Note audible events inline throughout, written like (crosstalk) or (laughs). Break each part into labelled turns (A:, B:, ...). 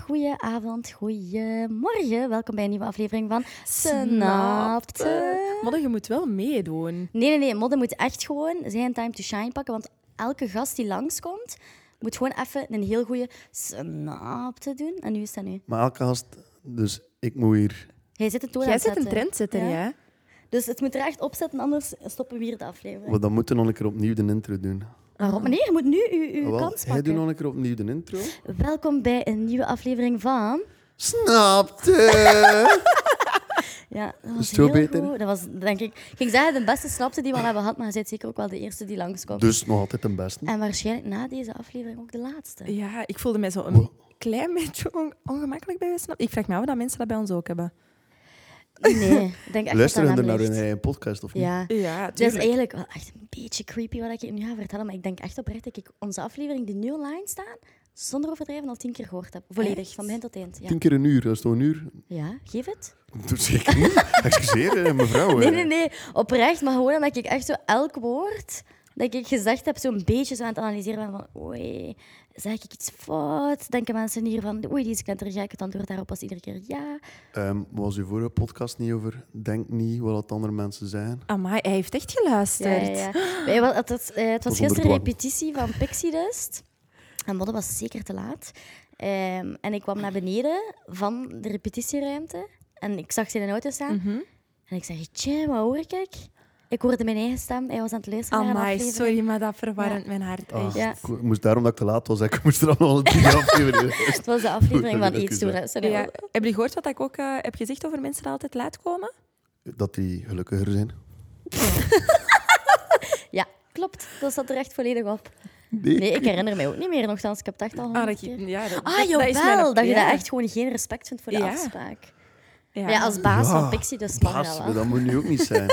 A: Goedenavond, goeiemorgen. Welkom bij een nieuwe aflevering van Snapte.
B: Snapte. Modder, je moet wel meedoen.
A: Nee, nee, nee. Modder moet echt gewoon zijn time to shine pakken. Want elke gast die langskomt, moet gewoon even een heel goede Snapte doen. En nu is dat nu.
C: Maar elke gast, dus ik moet hier.
A: Jij zit een toon aan
B: Jij
A: het
B: zit een
A: zetten.
B: trendsetter,
A: Ja.
B: ja?
A: Dus het moet er echt op zetten, anders stoppen we hier de aflevering.
C: Want dan moeten we nog een keer opnieuw de intro doen.
A: Waarom? Meneer, je moet nu uw, uw
C: Ah, wel,
A: kans
C: Jij
A: pakken.
C: doet nog een keer opnieuw de intro.
A: (laughs) Welkom bij een nieuwe aflevering van...
C: Snapte!
A: Ja, dat was
C: het veel
A: heel
C: beter?
A: goed. Dat was, denk ik... Ik ging zeggen, de beste snapte die we al hebben gehad, maar je bent zeker ook wel de eerste die langskomt.
C: dus nog altijd een beste.
A: En waarschijnlijk na deze aflevering ook de laatste.
B: Ja, ik voelde mij zo een klein beetje on- ongemakkelijk bij Snap. Ik vraag me af of dat mensen dat bij ons ook hebben.
A: Nee, ik denk echt
C: Luisteren
A: dat dat
C: we naar
A: hem
C: hun
A: ligt.
C: eigen podcast of niet?
A: Ja.
B: Ja,
A: Het is eigenlijk wel echt een beetje creepy wat ik je nu ga vertellen, maar ik denk echt oprecht dat ik onze aflevering die nu online staan, zonder overdrijven, al tien keer gehoord heb. Volledig, van begin tot eind. Ja,
C: Tien keer een uur, dat is toch een uur? (laughs)
A: ja geef het.
C: Doe zeker
A: (laughs)
C: niet. Excuseer, eh, mevrouw.
A: Nee,
C: eh.
A: nee, nee, oprecht, maar gewoon omdat ik echt zo elk woord dat ik gezegd heb, zo'n beetje zo aan het analyseren ben van, oei, zeg ik iets fout? Denken mensen hier van, oei, die is knettergek, het antwoord daarop was iedere keer ja.
C: Ehm, was uw vorige podcast niet over denk niet wat dat andere mensen zijn?
B: Amai, hij heeft echt
A: Ja,
B: geluisterd.
A: ja, ja.
B: (gasps)
A: Wij wel- het, was- eh, het was
C: Tot
A: gisteren
C: onder dwang.
A: repetitie van Pixie Dust. En Modde was zeker te laat. Ehm, en ik kwam naar beneden van de repetitieruimte. En ik zag ze in een auto staan.
B: Mhm.
A: En ik zei, tje, wat hoor ik? Ik hoorde mijn eigen stem. Hij was aan het luisteren naar een
B: Amai,
A: aflevering.
B: sorry, maar dat verwarmt mijn hart
C: Ah,
B: echt.
A: Ja.
C: ik moest, daarom dat ik te laat was, ik moest er dan nog alle tien (laughs) afleveringen.
A: Het was de
C: (laughs)
A: aflevering
C: Goed,
A: van
C: dat
A: Iets
C: je
A: Doen.
C: dat
A: hè. Sorry,
B: Ja.
A: Modde.
B: Heb je gehoord wat ik ook eh, heb gezegd over mensen die altijd laat komen?
A: Oh,
C: Dat die gelukkiger zijn.
A: Ja, klopt. Dat zat er echt volledig op.
C: Nee.
A: Nee, ik herinner mij ook niet meer. Nogthans, ik heb het echt al
B: Ah,
A: honderd
B: dat,
A: keer.
B: je- ja, dat,
A: Ah,
B: dat
A: jawel.
B: is
A: Dat,
B: mijn-
A: je
B: ja.
A: daar echt gewoon geen respect vindt voor de
B: Ja.
A: afspraak.
B: Ja.
A: Ja, als baas
C: Ja,
A: van Pixie dus mag dat wel.
C: Baas, dat moet nu ook niet zijn.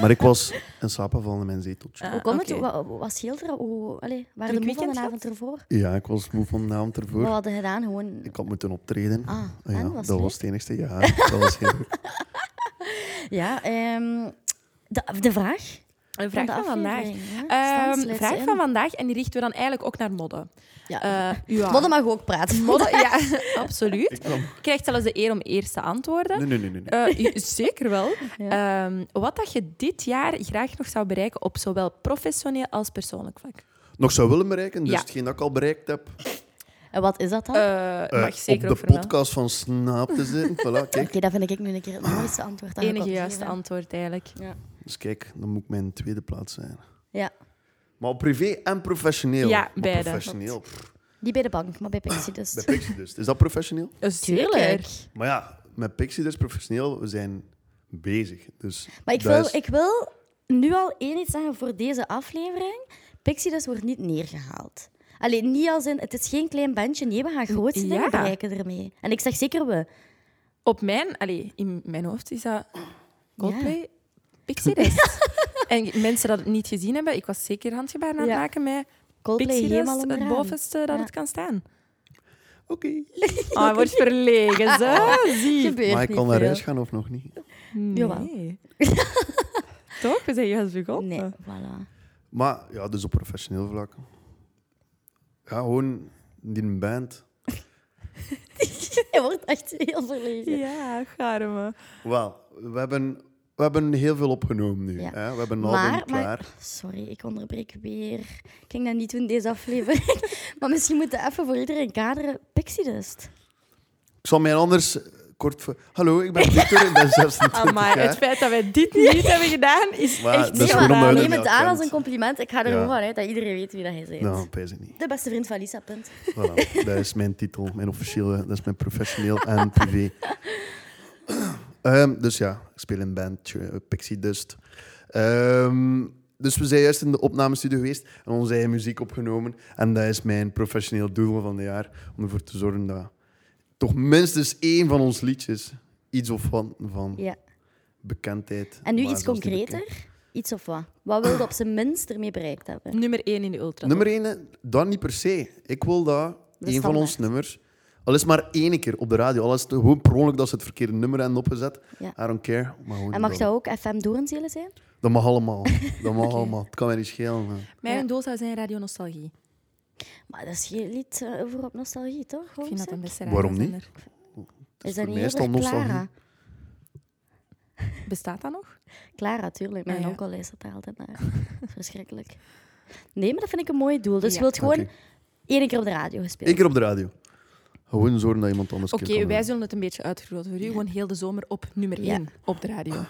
C: maar ik was een slaapgevallen in mijn zeteltje.
B: Ah,
A: Hoe kwam
B: oké.
A: het? Wat, wat scheelt er? Hoe, allee, waren
B: Druk
A: de moe van
B: weekend
A: de
B: gehad?
A: avond ervoor?
C: Ja, ik was moe van de avond ervoor.
A: Wat hadden gedaan? Gewoon...
C: Ik had moeten optreden.
A: Ah,
C: ja,
A: en, was het
C: dat
A: leuk?
C: was het enigste. Ja, dat was
A: (laughs)
C: heel leuk.
A: Ja, ehm, de, de vraag van
B: Een vraag
A: de
B: van vandaag.
A: aflevering. hè?
B: Ehm,
A: Stans, let's
B: vraag
A: in.
B: van vandaag, en die richten we dan eigenlijk ook naar modden.
A: Ja.
B: Eh,
A: (laughs)
B: ja.
A: Modder mag ook praten.
B: Modder, ja, absoluut.
C: Ik kwam-
B: Je krijgt zelfs de eer om eerst te antwoorden.
C: Nee, nee, nee. nee, nee.
B: Eh, je- zeker wel. Ehm, wat dat je dit jaar graag nog zou bereiken op zowel professioneel als persoonlijk vlak?
C: Nog zou willen bereiken, dus
B: Ja.
C: hetgeen dat ik al bereikt heb.
A: (laughs) En wat is dat dan?
B: Eh,
C: eh,
B: mag zeker ook
C: op de
B: vermelden.
C: podcast van Snaap te
A: (laughs)
C: zitten. Voilà,
A: Oké,
C: kijk.
A: dat vind ik nu een keer het mooiste antwoord. dat je
B: Enige
A: kon
B: juiste
A: geven.
B: antwoord eigenlijk.
C: Dus kijk, dan moet ik mijn tweede plaats zijn.
A: Ja,
C: Maar op privé en professioneel.
B: Ja,
C: Maar
B: beide.
C: Professioneel. Pff,
A: niet bij de bank, maar bij Pixie dus.
C: Bij Pixie dus. Is dat professioneel?
B: Eh,
A: Tuurlijk.
B: Zeker.
C: Maar ja, met Pixie dus professioneel, we zijn bezig. Dus
A: Maar ik
C: dat
A: wil,
C: is-
A: ik wil nu al één iets zeggen voor deze aflevering. Pixie dus wordt niet neergehaald. Alleen niet als in, het is geen klein bandje. Nee, we gaan grootste dingen
B: Ja.
A: bereiken ermee. En ik zeg zeker we.
B: Op mijn, allee, in mijn hoofd is dat Coldplay,
A: (laughs)
B: Pixie Dust. en mensen dat het niet gezien hebben, ik was zeker handgebaar aan het
A: Ja.
B: maken met
A: Coldplay
B: Pixie
A: helemaal
B: Dust, het
A: onderaan.
B: bovenste dat
A: Ja.
B: het kan
A: (laughs)
B: staan.
C: Oké.
B: Ah, hij wordt verlegen,
A: (laughs)
B: ze. Zie.
A: Gebeurt
C: Maar ik
A: niet
C: kan naar
A: veel.
C: huis gaan of nog niet?
A: Mm.
B: Nee.
A: (laughs)
B: Toch? We zijn juist begonnen.
A: Nee, voilà. (laughs)
C: Maar ja, dus op professioneel vlak. Ja, gewoon die band.
A: Je wordt echt heel verlegen.
B: Ja, garme.
C: Wel, we hebben, we hebben heel veel opgenomen nu.
A: Ja.
C: Hè? We hebben een
A: Maar,
C: album klaar.
A: maar, sorry, ik onderbreek weer. Ik ging dat niet doen deze aflevering. (laughs) maar misschien moeten we even voor iedereen kaderen. Pixie Dust.
C: Ik zal mij anders kort... ver- Hallo, ik ben Victor, ik ben
A: (laughs)
C: 26
B: Ah, Maar
C: jaar.
B: het feit dat wij dit niet hebben gedaan is
C: Maar
B: echt
C: Ah, dat is
B: heel
C: gewoon omdat
B: raar.
C: we
A: neem
C: dat
A: het
C: niet
A: aan
C: herkent.
A: als een compliment. Ik ga er
C: Ja.
A: gewoon vanuit dat iedereen weet wie dat hij bent.
C: Nou, pijs ik niet.
A: De beste vriend van Lisa, punt.
C: Voilà, dat is mijn titel, mijn officiële. Dat is mijn professioneel
A: (clears throat)
C: en privé. Ehm, dus ja, ik speel in een bandje, eh, Pixie Dust. Ehm, dus we zijn juist in de opnamestudio geweest en onze eigen muziek opgenomen. En dat is mijn professioneel doel van het jaar. Om ervoor te zorgen dat toch minstens één van ons liedjes iets of van, van
A: Ja.
C: bekendheid...
A: En nu
C: maar
A: iets
C: zelfs niet bekend-
A: concreter. Iets of wat? Wat wilde op zijn minst ermee bereikt hebben?
B: Nummer 1 in de ultra.
C: Nummer één, dat niet per se. Ik wil dat
A: De
C: één van
A: standaard.
C: ons nummers, al is maar één keer op de radio, al is het gewoon per ongeluk dat ze het verkeerde nummer hebben opgezet.
A: Ja.
C: I don't care. Maar gewoon
A: En mag
C: dat.
A: dat ook FM Doornzelen zijn?
C: Dat mag allemaal. Dat mag allemaal. Het kan mij niet schelen. hè.
B: Mijn doel zou zijn Radio Nostalgie.
A: Maar dat is geen lied eh, voor op nostalgie, toch?
B: Ik vind dat een
A: Homesick?
B: beste
C: Waarom niet?
B: radiozender.
A: Is
C: voor
A: dat niet
C: mij
A: eerder
C: is dat
A: Clara?
C: nostalgie.
B: Bestaat dat nog?
A: Clara, tuurlijk. Mijn
B: Ah, ja.
A: onkel leest dat daar altijd
B: (laughs)
A: naar. Dat is verschrikkelijk. Nee, maar dat vind ik een mooi doel. Dus
B: Ja.
A: je wilt gewoon
C: Oké.
A: één keer op de radio gespeeld.
C: Eén keer op de radio. Gewoon zorgen dat iemand anders
B: Oké,
C: keer kan
B: wij
C: horen.
B: zullen het een beetje uitvergroten voor u. Gewoon heel de zomer op nummer
A: Ja.
B: 1 op de radio.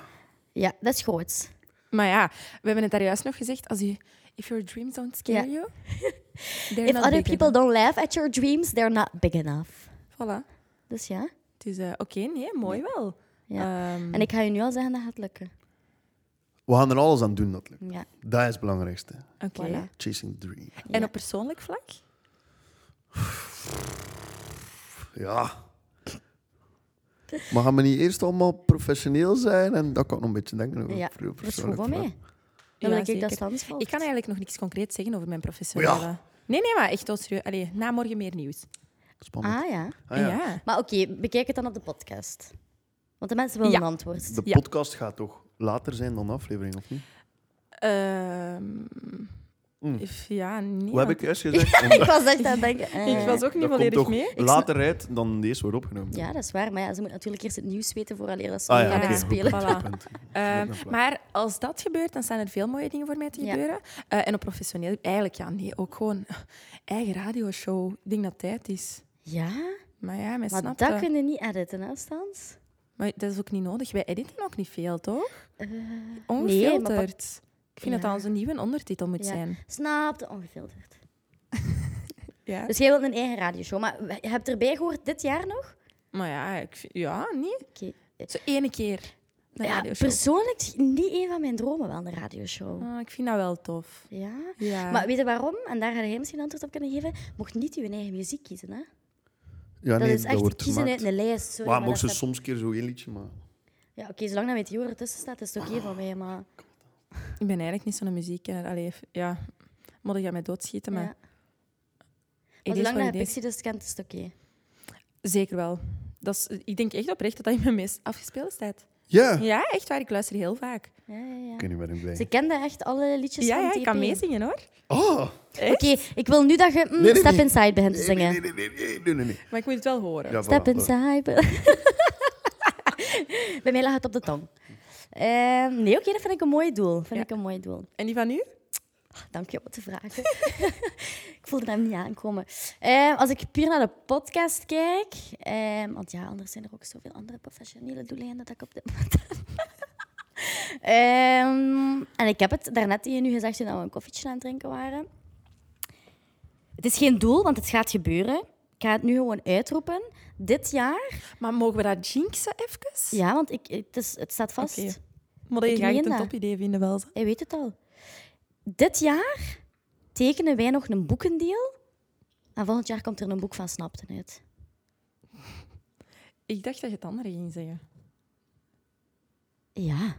A: Ja, dat is groot.
B: Maar ja, we hebben het daar juist nog gezegd. Als u, if your dreams don't scare
A: Ja.
B: you,
A: (laughs)
B: they're
A: If
B: not
A: other
B: big
A: people don't laugh at your dreams, they're not big enough.
B: enough. Voilà.
A: Dus ja.
B: Dus eh, oké, nee, mooi wel.
A: Ja.
B: Ehm,
A: En ik ga je nu al zeggen, dat gaat lukken.
C: We gaan er alles aan doen, dat lukt.
A: Ja,
C: Dat is het belangrijkste.
B: oké.
A: voilà.
C: Chasing the dream.
B: En
A: Ja.
B: op persoonlijk vlak?
C: Ja. Maar gaan we niet eerst allemaal professioneel zijn? En dat kan ik nog een beetje denken over.
A: Ja,
C: over uw
A: dat is
C: persoonlijk
A: gewoon
C: vlak.
A: mee. Dan
B: Ja,
A: wil ik
B: zeker.
A: dat Stans volgt.
B: Ik kan eigenlijk nog niks concreets zeggen over mijn professionele...
C: Maar ja.
B: Nee, nee, maar echt tot serieus. Allee, na morgen meer nieuws.
C: Spannend.
A: Ah ja.
C: Ah ja.
A: Maar oké, bekijk het dan op de podcast. Want de mensen willen
B: Ja.
A: een
C: (laughs)
A: antwoord.
C: De
B: Ja.
C: podcast gaat toch later zijn dan de aflevering, of niet?
B: Ehm,
C: Mm.
B: if- ja, nee.
C: Wat heb ik
B: want-
C: juist gezegd? Omdat
A: ik was echt aan het denken. eh.
B: Ik was ook niet
C: dat komt
B: volledig
C: toch
B: mee. Ik
C: later uit dan deze wordt opgenomen.
A: Eh, Ja, dat is waar. Maar ja, ze moet natuurlijk eerst het nieuws weten vooraleer dat ze
C: Ah ja,
A: gaan
B: oké,
C: goed
A: spelen.
C: punt,
B: Voilà.
C: goed punt.
B: Ehm,
C: Goed punt.
B: maar als dat gebeurt, dan staan er veel mooie dingen voor mij te
A: Ja.
B: gebeuren. Eh, en op professioneel, eigenlijk ja, nee, ook gewoon (laughs) eigen radioshow. Ik denk dat tijd is.
A: Ja,
B: Maar ja, mij
A: maar dat
B: snapt dat.
A: kun je niet editen, hè, Stans?
B: Maar dat is ook niet nodig. Wij editen ook niet veel, toch?
A: Eh, nee, maar
B: Ongefilterd. Ik vind dat
A: Ja.
B: dat onze nieuwe ondertitel moet
A: Ja.
B: zijn.
A: Snap de ongefilterd.
B: Ja.
A: Dus jij wilt een eigen radioshow. Maar we- je hebt erbij gehoord dit jaar nog?
B: Maar ja, ik, vind- ja, niet.
A: Oké.
B: Zo ene keer. De
A: Ja,
B: radioshow.
A: persoonlijk niet een van mijn dromen wel, een radioshow.
B: Ah, ik vind dat wel tof.
A: Ja?
B: Ja.
A: Maar weet je waarom? En daar ga jij misschien antwoord op kunnen geven. Mocht niet uw eigen muziek kiezen, hè? dat
C: ja, nee,
A: is echt
C: wordt
A: kiezen
C: gemaakt.
A: uit een lijst. Sorry,
C: Maar
A: maar
C: mocht ze
A: dat staat-
C: soms een keer zo één liedje, maar...
A: Ja, oké, zolang dat met Joer ertussen staat, is het oké voor mij, maar...
B: Ik ben eigenlijk niet zo'n muziekkenner. Allee, f- ja, moet ik aan mij doodschieten, maar...
A: Ja.
B: Ik
A: Maar
B: deed
A: zolang
B: wat
A: dat
B: ik
A: je
B: deed.
A: Pixie dus kent, is het oké.
B: Zeker wel. Dat is, ik denk echt oprecht dat dat in mijn meest afgespeelde staat.
C: Ja! Ik
B: Ja, echt waar. Ik luister heel vaak.
A: Ja, ja, ja.
C: weet niet waar ik
A: Ze
C: blij.
A: kende echt alle liedjes
B: Ja,
A: van
B: ja,
A: TP.
B: ik kan meezingen, hoor.
C: Oh!
A: Oké, ik wil nu dat je mm,
C: nee,
A: Step
C: nee.
A: Inside begint te
C: Nee, nee,
A: zingen.
C: nee, nee, nee, nee, nee, nee.
B: Maar ik moet het wel horen.
C: Ja,
A: Step
C: voilà, voilà.
A: Inside. (laughs) Bij mij lag het op de tong. Ehm, nee, oké, dat vind ik een mooi doel. Vind
B: Ja.
A: ik een mooi doel.
B: En die van u?
A: Dank je om te vragen. (laughs) ik voelde hem niet aankomen. Ehm, als ik puur naar de podcast kijk... ehm, want ja, anders zijn er ook zoveel andere professionele doeleinden dat ik op dit moment heb. (laughs) Ehm, en ik heb het daarnet tegen u gezegd toen we een koffietje aan het drinken waren. Het is geen doel, want het gaat gebeuren. Ik ga het nu gewoon uitroepen. Dit jaar...
B: Maar mogen we dat jinxen even?
A: Ja, want ik, het, is, het staat vast.
B: Oké. Maar
A: Ik
B: je gaat
A: meen
B: het een
A: dat.
B: topidee vinden, wel.
A: Hij weet het al. Dit jaar tekenen wij nog een boekendeal. En volgend jaar komt er een boek van Snapten uit.
B: Ik dacht dat je het andere ging zeggen.
A: Ja.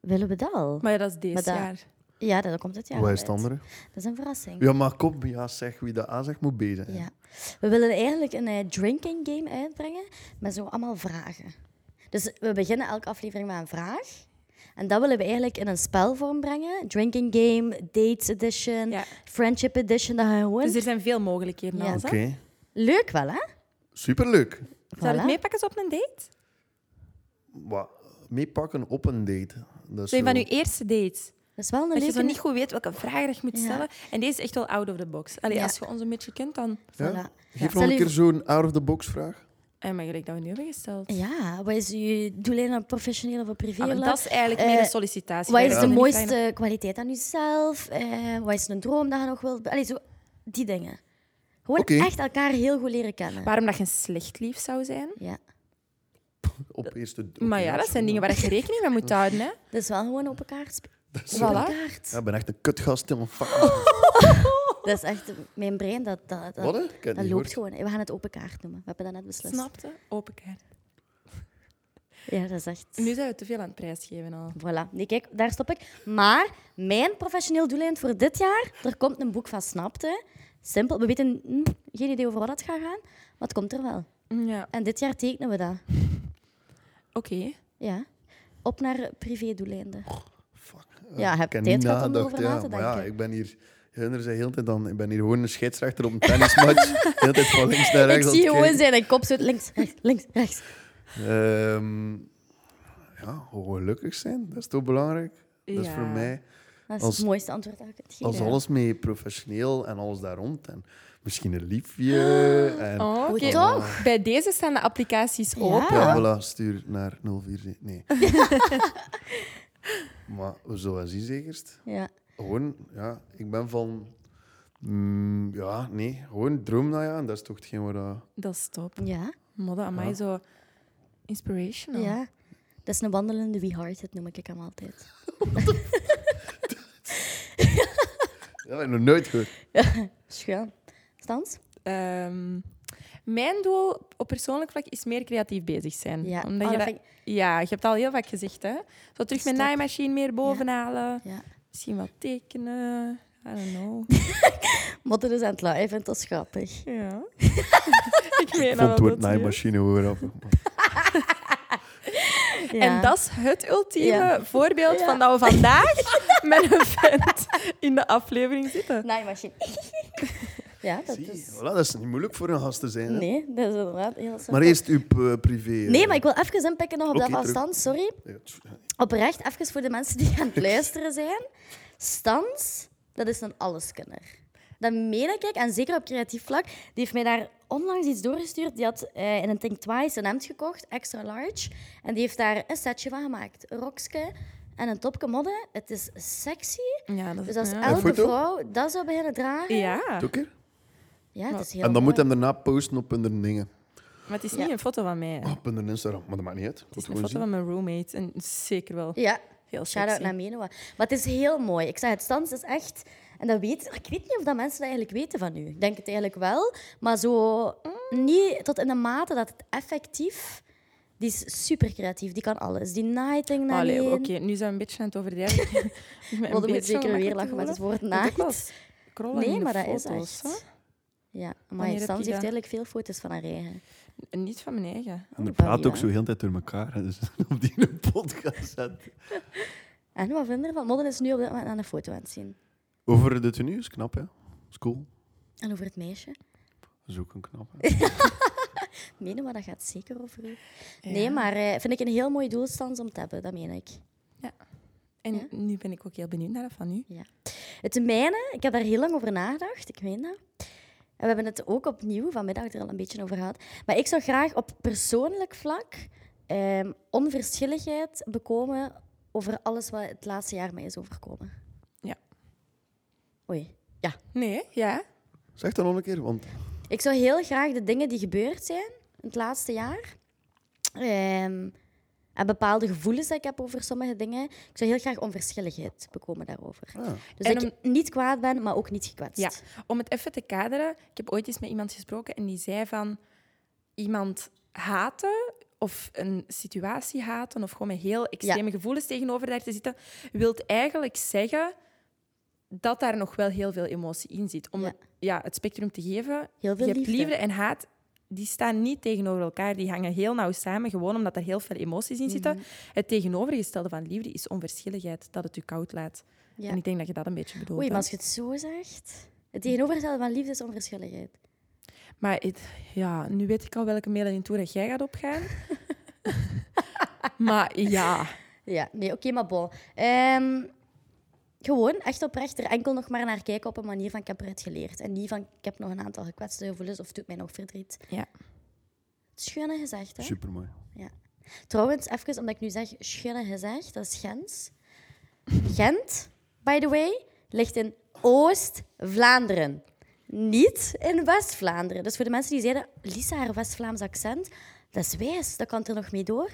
A: Willen we dat al?
B: Maar ja, dat is deze
A: Maar dat-
B: jaar.
A: Ja, dat komt dit jaar.
C: Wat is het
A: uit.
C: andere?
A: Dat is een verrassing.
C: Ja, maar kom, ja, zeg, wie dat aanzegt moet B zijn.
A: Ja. We willen eigenlijk een eh, drinking game uitbrengen met zo allemaal vragen. Dus we beginnen elke aflevering met een vraag. En dat willen we eigenlijk in een spelvorm brengen. Drinking game, dates edition,
B: Ja.
A: friendship edition. Dat gaan we gewoon...
B: Dus er zijn veel mogelijkheden,
A: Ja.
B: ja.
C: Oké,
A: Leuk wel, hè?
C: superleuk.
B: Zou je
A: Voilà.
B: het meepakken zo op een date?
C: Wat? Meepakken op een date. Dat is
B: Zo
C: zo-
B: van je eerste date.
A: Dat is wel een
B: Dat je
A: leuke...
B: zo niet goed weet welke vragen je moet
A: Ja.
B: stellen. En deze is echt wel out of the box. Allee,
A: Ja.
B: als je ons een beetje kent, dan...
C: Ja?
A: Voilà.
C: Geef
A: Ja.
C: nog
A: Zal u-
C: een keer zo'n out-of-the-box vraag.
B: En Eh, maar gelijk dat we nu hebben gesteld.
A: Ja, wat is uw doel aan professioneel of op privé?
B: Ah, maar
A: vlak?
B: dat is eigenlijk
A: Eh,
B: meer een sollicitatie.
A: wat
B: Daar
A: is de
B: zijn we niet
A: mooiste kwaliteit aan uzelf? Eh, wat is een droom dat je nog wilt... be- Allee, zo, die dingen. Gewoon
C: Oké.
A: echt elkaar heel goed leren kennen.
B: Waarom dat je een slecht lief zou zijn.
A: Ja.
C: Op eerste op
B: Maar ja,
C: eerste
B: dat zijn
C: zoen.
B: dingen waar je rekening mee moet houden. Hè.
A: Dat is wel gewoon op elkaar spelen.
C: Dat is-
A: Op
B: Voilà.
A: elkaar.
C: Ja, ik ben echt een kutgast. helemaal
A: Oh.
C: fuck.
A: Dat is echt... Mijn brein, dat, dat, dat,
C: (laughs) Wat, hè? Ik heb het
A: dat
C: niet
A: loopt
C: gehoord.
A: gewoon. We gaan het open kaart noemen. We hebben dat net beslist.
B: Snapte? Open kaart.
A: Ja, dat is echt...
B: Nu zijn we te veel aan het prijsgeven al.
A: Voilà. Nee, kijk, daar stop ik. Maar mijn professioneel doeleind voor dit jaar, er komt een boek van Snapte. Simpel. We weten mm, geen idee over wat het gaat gaan, maar het komt er wel.
B: Ja,
A: En dit jaar tekenen we dat.
B: oké.
A: Ja. Op naar privé doeleinden.
C: Fuck. Eh,
A: Ja, heb
C: Ik heb
A: tijd
C: niet
A: gehad om
C: nagedacht,
A: erover na te
C: ja. Maar ja,
A: denken.
C: ik ben hier Hunner zei heel de tijd dan, ik ben hier gewoon een scheidsrechter op een tennismatch.
A: (laughs)
C: heel de tijd van links naar
A: Ik
C: rechts. aan
A: zie
C: het
A: gewoon
C: kijken.
A: zijn kop zo links, rechts, links, rechts.
C: Ehm, ja, gewoon gelukkig zijn, dat is toch belangrijk? Dat is
B: Ja.
C: voor mij,
A: Dat is
C: Als-
A: het mooiste antwoord dat ik kunt geven.
C: als alles mee professioneel en alles daar rond. En misschien een liefje. En,
B: Oh,
A: Oei,
B: oké.
A: toch?
B: Bij deze staan de applicaties
A: Ja.
B: open.
C: Ja,
A: Ah.
C: voilà, stuur naar 047.
A: (laughs)
C: Nee. maar we zullen zien, zekerst.
A: Ja.
C: Gewoon, ja, ik ben van. mm, ja, nee, gewoon droom nou ja. En dat is toch hetgeen waar. eh, dat-
B: Dat is top.
A: Ja.
B: Modder, amai,
C: Ja.
B: zo inspirational.
A: ja. Dat is een wandelende We Heart, dat noem ik hem altijd.
C: Dat heb ik nog nooit gehoord.
A: Schuin. Stans?
B: Ehm, mijn doel op persoonlijk vlak is meer creatief bezig zijn.
A: Ja.
B: Hm. Omdat
A: Oh,
B: je
A: dat
B: dat-
A: vind
B: ja, je hebt het al heel vaak gezegd, hè? Zo terug mijn
A: Stop.
B: naaimachine meer bovenhalen.
A: Ja.
B: Misschien wat tekenen. I don't
A: (laughs)
B: know.
A: Modder is aan het lachen, hij vindt dat grappig.
B: (laughs) Ja. ik meen al
C: Ik vond
B: dat
C: het woord
B: dat weer.
C: naaimachine hoor af. (laughs)
A: Ja.
B: En dat is het ultieme
A: Ja.
B: voorbeeld
A: Ja.
B: van dat we vandaag (laughs) met een vent in de aflevering zitten.
A: Naaimachine. (laughs) ja, dat
C: Zie,
A: is...
C: voilà, dat is niet moeilijk voor een gast te zijn. hè.
A: Nee, dat is inderdaad heel simpel.
C: Maar eerst uw eh, privé. eh.
A: Nee, maar ik wil even inpikken nog op dat
C: Oké,
A: van
C: terug.
A: Stans, sorry.
C: Ja, tch, ja.
A: Oprecht, even voor de mensen die aan het
C: (laughs)
A: luisteren zijn. Stans, dat is een alleskenner. Dat meen ik, echt, en zeker op creatief vlak. Die heeft mij daar onlangs iets doorgestuurd. Die had eh, in een Think Twice een hemd gekocht, extra large. En die heeft daar een setje van gemaakt. Een rokske en een topje modden. Het is sexy.
B: Ja, dat
A: Dus als
B: ja.
C: Mm. Een
A: elke
C: foto?
A: vrouw dat zou beginnen dragen... Ja,
B: Ja,
C: Doe ik er?
A: het is heel
C: En dan
A: mooi.
C: moet hem daarna posten op hun dingen.
B: maar het is
A: Ja.
B: niet een foto van mij. hè.
C: Op hun Instagram, maar dat maakt niet uit.
B: Het is een
C: Gewoon
B: foto
C: zien.
B: van mijn roommate. En zeker wel
A: Ja,
B: heel
A: shout-out
B: sexy.
A: naar Menua. Maar het is heel mooi. Ik zeg, het Stans is echt... En dat weet, ik weet niet of dat mensen dat eigenlijk weten van u. Ik denk het eigenlijk wel, maar zo mm, niet tot in de mate dat het effectief... Die is super creatief, die kan alles. Die nighting naar
B: Allee,
A: één.
B: oké, nu zijn we een beetje aan het
A: (laughs)
B: overdrijven. (laughs) Ik ben een
A: Wilde Oh, moet
B: beetje
A: zeker weer
B: ongemakkelijk
A: lachen met het
B: geworden.
A: woord
B: Dat doe ik wel
A: naait.
B: eens. Krollen
A: Nee,
B: in de
A: maar dat is
B: foto's,
A: echt. Ja, maar
B: Wanneer
A: Stans
B: heb
A: heeft
B: je dat?
A: eigenlijk veel foto's van haar eigen.
B: hè. Niet van mijn eigen.
C: En er
A: Van
C: praat
A: wie,
C: ook
A: hè?
C: zo heel de tijd door elkaar. hè, Dus (laughs) op die een podcast zet.
A: En wat vind je ervan? Modden is nu op dit moment aan een foto aan het zien.
C: Over de tenue is knap, hè? Is cool.
A: En over het meisje.
C: Dat is ook een knap. hè.
A: Menen maar dat gaat zeker over u.
B: Ja.
A: Nee, maar eh, vind ik een heel mooi doel, Stans, om te hebben. Dat meen ik.
B: En
A: Ja?
B: nu ben ik ook heel benieuwd naar dat van u.
A: Het mijne, ik heb daar heel lang over nagedacht, ik weet dat. En we hebben het ook opnieuw vanmiddag er al een beetje over gehad. Maar ik zou graag op persoonlijk vlak ehm, onverschilligheid bekomen over alles wat het laatste jaar mij is overkomen.
B: Ja.
A: Oei.
B: Nee, ja.
C: Zeg dat nog een keer, want
A: Ik zou heel graag de dingen die gebeurd zijn in het laatste jaar ehm, en bepaalde gevoelens die ik heb over sommige dingen, ik zou heel graag onverschilligheid bekomen daarover.
C: ja,
A: Dus
B: En
A: dat ik niet kwaad ben, maar ook niet gekwetst.
B: Ja, om het even te kaderen. Ik heb ooit eens met iemand gesproken en die zei van iemand haten of een situatie haten of gewoon met heel extreme gevoelens tegenover daar te zitten, wilt eigenlijk zeggen dat daar nog wel heel veel emotie in zit. Om
A: Ja.
B: het, ja, het spectrum te geven.
A: Heel veel
B: je hebt
A: liefde.
B: liefde en haat. Die staan niet tegenover elkaar, die hangen heel nauw samen, gewoon omdat er heel veel emoties in zitten.
A: Mhm.
B: Het tegenovergestelde van liefde is onverschilligheid, dat het u koud laat.
A: Ja.
B: En ik denk dat je dat een beetje bedoelt.
A: Oei,
B: hè.
A: maar als je het zo zegt... Het tegenovergestelde van liefde is onverschilligheid.
B: Maar het- ja, nu weet ik al welke mail in toe dat jij gaat (laughs) opgaan. maar ja,
A: Ja, nee, oké, maar bon. Ehm, gewoon, echt oprecht, er enkel nog maar naar kijken op een manier van ik heb eruit geleerd. En niet van ik heb nog een aantal gekwetste gevoelens of het doet mij nog verdriet.
B: Ja.
A: Schunne gezegd, hè?
C: supermooi.
A: Trouwens, even omdat ik nu zeg schunne gezegd, dat is Gens. Gent, by the way, ligt in Oost-Vlaanderen. Niet in West-Vlaanderen. Dus voor de mensen die zeiden, Lisa, haar West-Vlaams accent, dat is wijs, dat kan er nog mee door.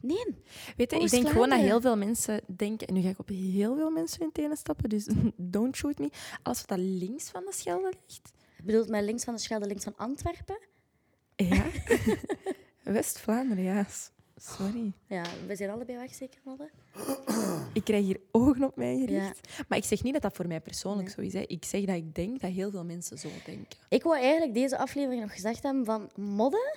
A: Nee.
B: weet je, ik denk
A: Oost-Vlaanderen.
B: gewoon dat heel veel mensen denken... En nu ga ik op heel veel mensen hun tenen stappen, dus (laughs) don't shoot me. Alles wat dat links van de Schelde ligt...
A: Ik bedoel, met links van de Schelde, links van Antwerpen.
B: Ja. (laughs) West-Vlaanderen, ja. S- Sorry.
A: Ja, we zijn allebei weg, zeker, Madde?
B: Ik krijg hier ogen op mij gericht. Maar ik zeg niet dat dat voor mij persoonlijk
A: Nee.
B: zo is. Hè. Ik zeg dat ik denk dat heel veel mensen zo denken.
A: Ik wou eigenlijk deze aflevering nog gezegd hebben van modden,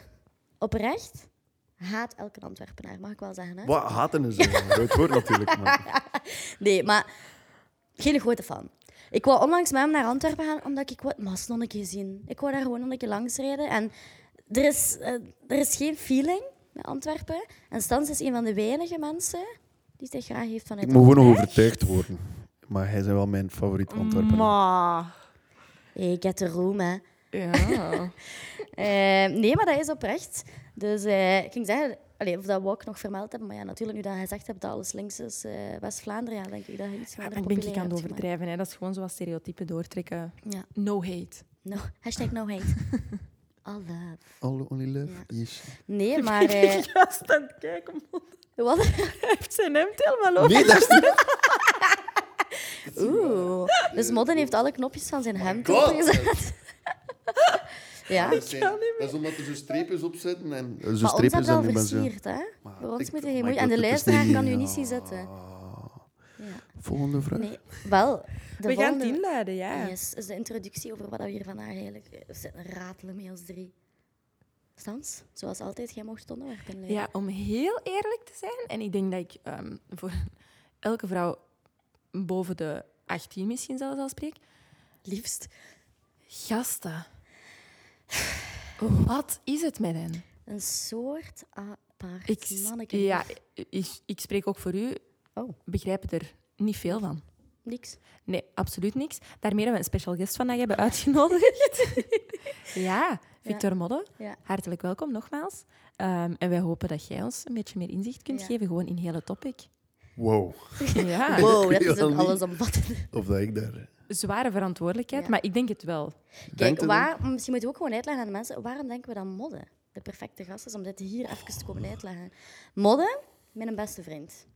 A: oprecht, haat elke Antwerpenaar, mag ik wel zeggen, hè?
C: Wat (laughs) haten is dat? Het woord natuurlijk. Maar.
A: Nee, maar geen grote fan. Ik wou onlangs met hem naar Antwerpen gaan, omdat ik wat mas nog een keer zien. Ik wou daar gewoon nog een keer langs rijden. En er is, eh, er is geen feeling met Antwerpen. En Stans is een van de weinige mensen die het echt graag heeft van
C: Ik
A: het
C: moet gewoon nog overtuigd worden. Maar hij is wel mijn favoriet Antwerpen.
B: Maar...
A: Hey, get the room, hè.
B: (laughs) Ja.
A: Eh, nee, maar dat is oprecht. Dus eh, ik ging zeggen, allee, of dat we ook nog vermeld hebben, maar ja, natuurlijk, nu dat hij zegt hebt dat alles links is, eh, West-Vlaanderen, ja, denk ik dat hij iets
B: Maar
A: minder
B: ik Ah, ben
A: populair
B: ik aan het
A: hebt gemaakt.
B: overdrijven. Hè. Dat is gewoon zoals stereotypen doortrekken.
A: Ja.
B: No hate.
A: No, hashtag no hate.
B: (laughs)
A: All love.
C: All only love
A: Ja.
C: is...
A: Nee, (laughs) maar...
B: (laughs)
A: eh,
B: Ik was aan het kijken. (laughs) man.
A: wat?
B: Hij heeft zijn hemd helemaal
A: Oh.
B: over.
C: Nee, dat is niet...
A: (laughs) Oeh. Dus Modden heeft alle knopjes van zijn hemd
C: Oh God.
A: opgezet. ja.
C: Dat, zijn- dat is omdat er zo streepjes op zitten. En, eh, zo
A: Maar ons
C: streepjes
A: hebben al
C: en mensen-
A: versierd, hè?
C: Maar
A: Bij ons
C: ik-
A: moeten geen
C: maar ik
A: moeite... En de
C: wil het dus
A: luisteraar kan
C: niet-
A: u niet zien
C: Ja.
A: zitten. Ja.
C: Volgende vraag.
A: Nee, wel. De
B: We gaan
A: volgende...
B: het inleiden, ja.
A: Yes, is de introductie over wat we hier vandaag eigenlijk eh, zitten ratelen met ons drie. Stans, zoals altijd, jij mocht het onderwerp inleiden.
B: Ja, om heel eerlijk te zijn. En ik denk dat ik ehm, voor (laughs) elke vrouw boven de 18 misschien zelfs al spreek.
A: Liefst.
B: Gasten.
A: Oh.
B: Wat is het met hen?
A: Een soort apart
B: Ik,
A: manneke.
B: ja, ik, ik spreek ook voor u.
A: Oh.
B: Begrijpen er niet veel van.
A: Niks.
B: Nee, absoluut niks. Daarmee hebben we een special guest vandaag hebben (laughs) uitgenodigd. ja, Victor Modde,
C: (laughs)
A: Ja.
B: hartelijk welkom nogmaals. Ehm, en wij hopen dat jij ons een beetje meer inzicht kunt
A: Ja.
B: geven, gewoon in hele topic. (laughs)
C: Wow.
B: Ja,
A: Wow, dat
C: weet
A: is
C: wel
A: een
C: niet.
A: allesomvattende.
C: Of dat ik daar...
B: zware verantwoordelijkheid,
A: Ja.
B: maar ik denk het wel.
A: Kijk,
C: Denkt het
A: waar, misschien moeten we ook gewoon uitleggen aan de mensen waarom denken we dat modden de perfecte gast is om dit hier even te komen uitleggen. Modden, mijn beste vriend.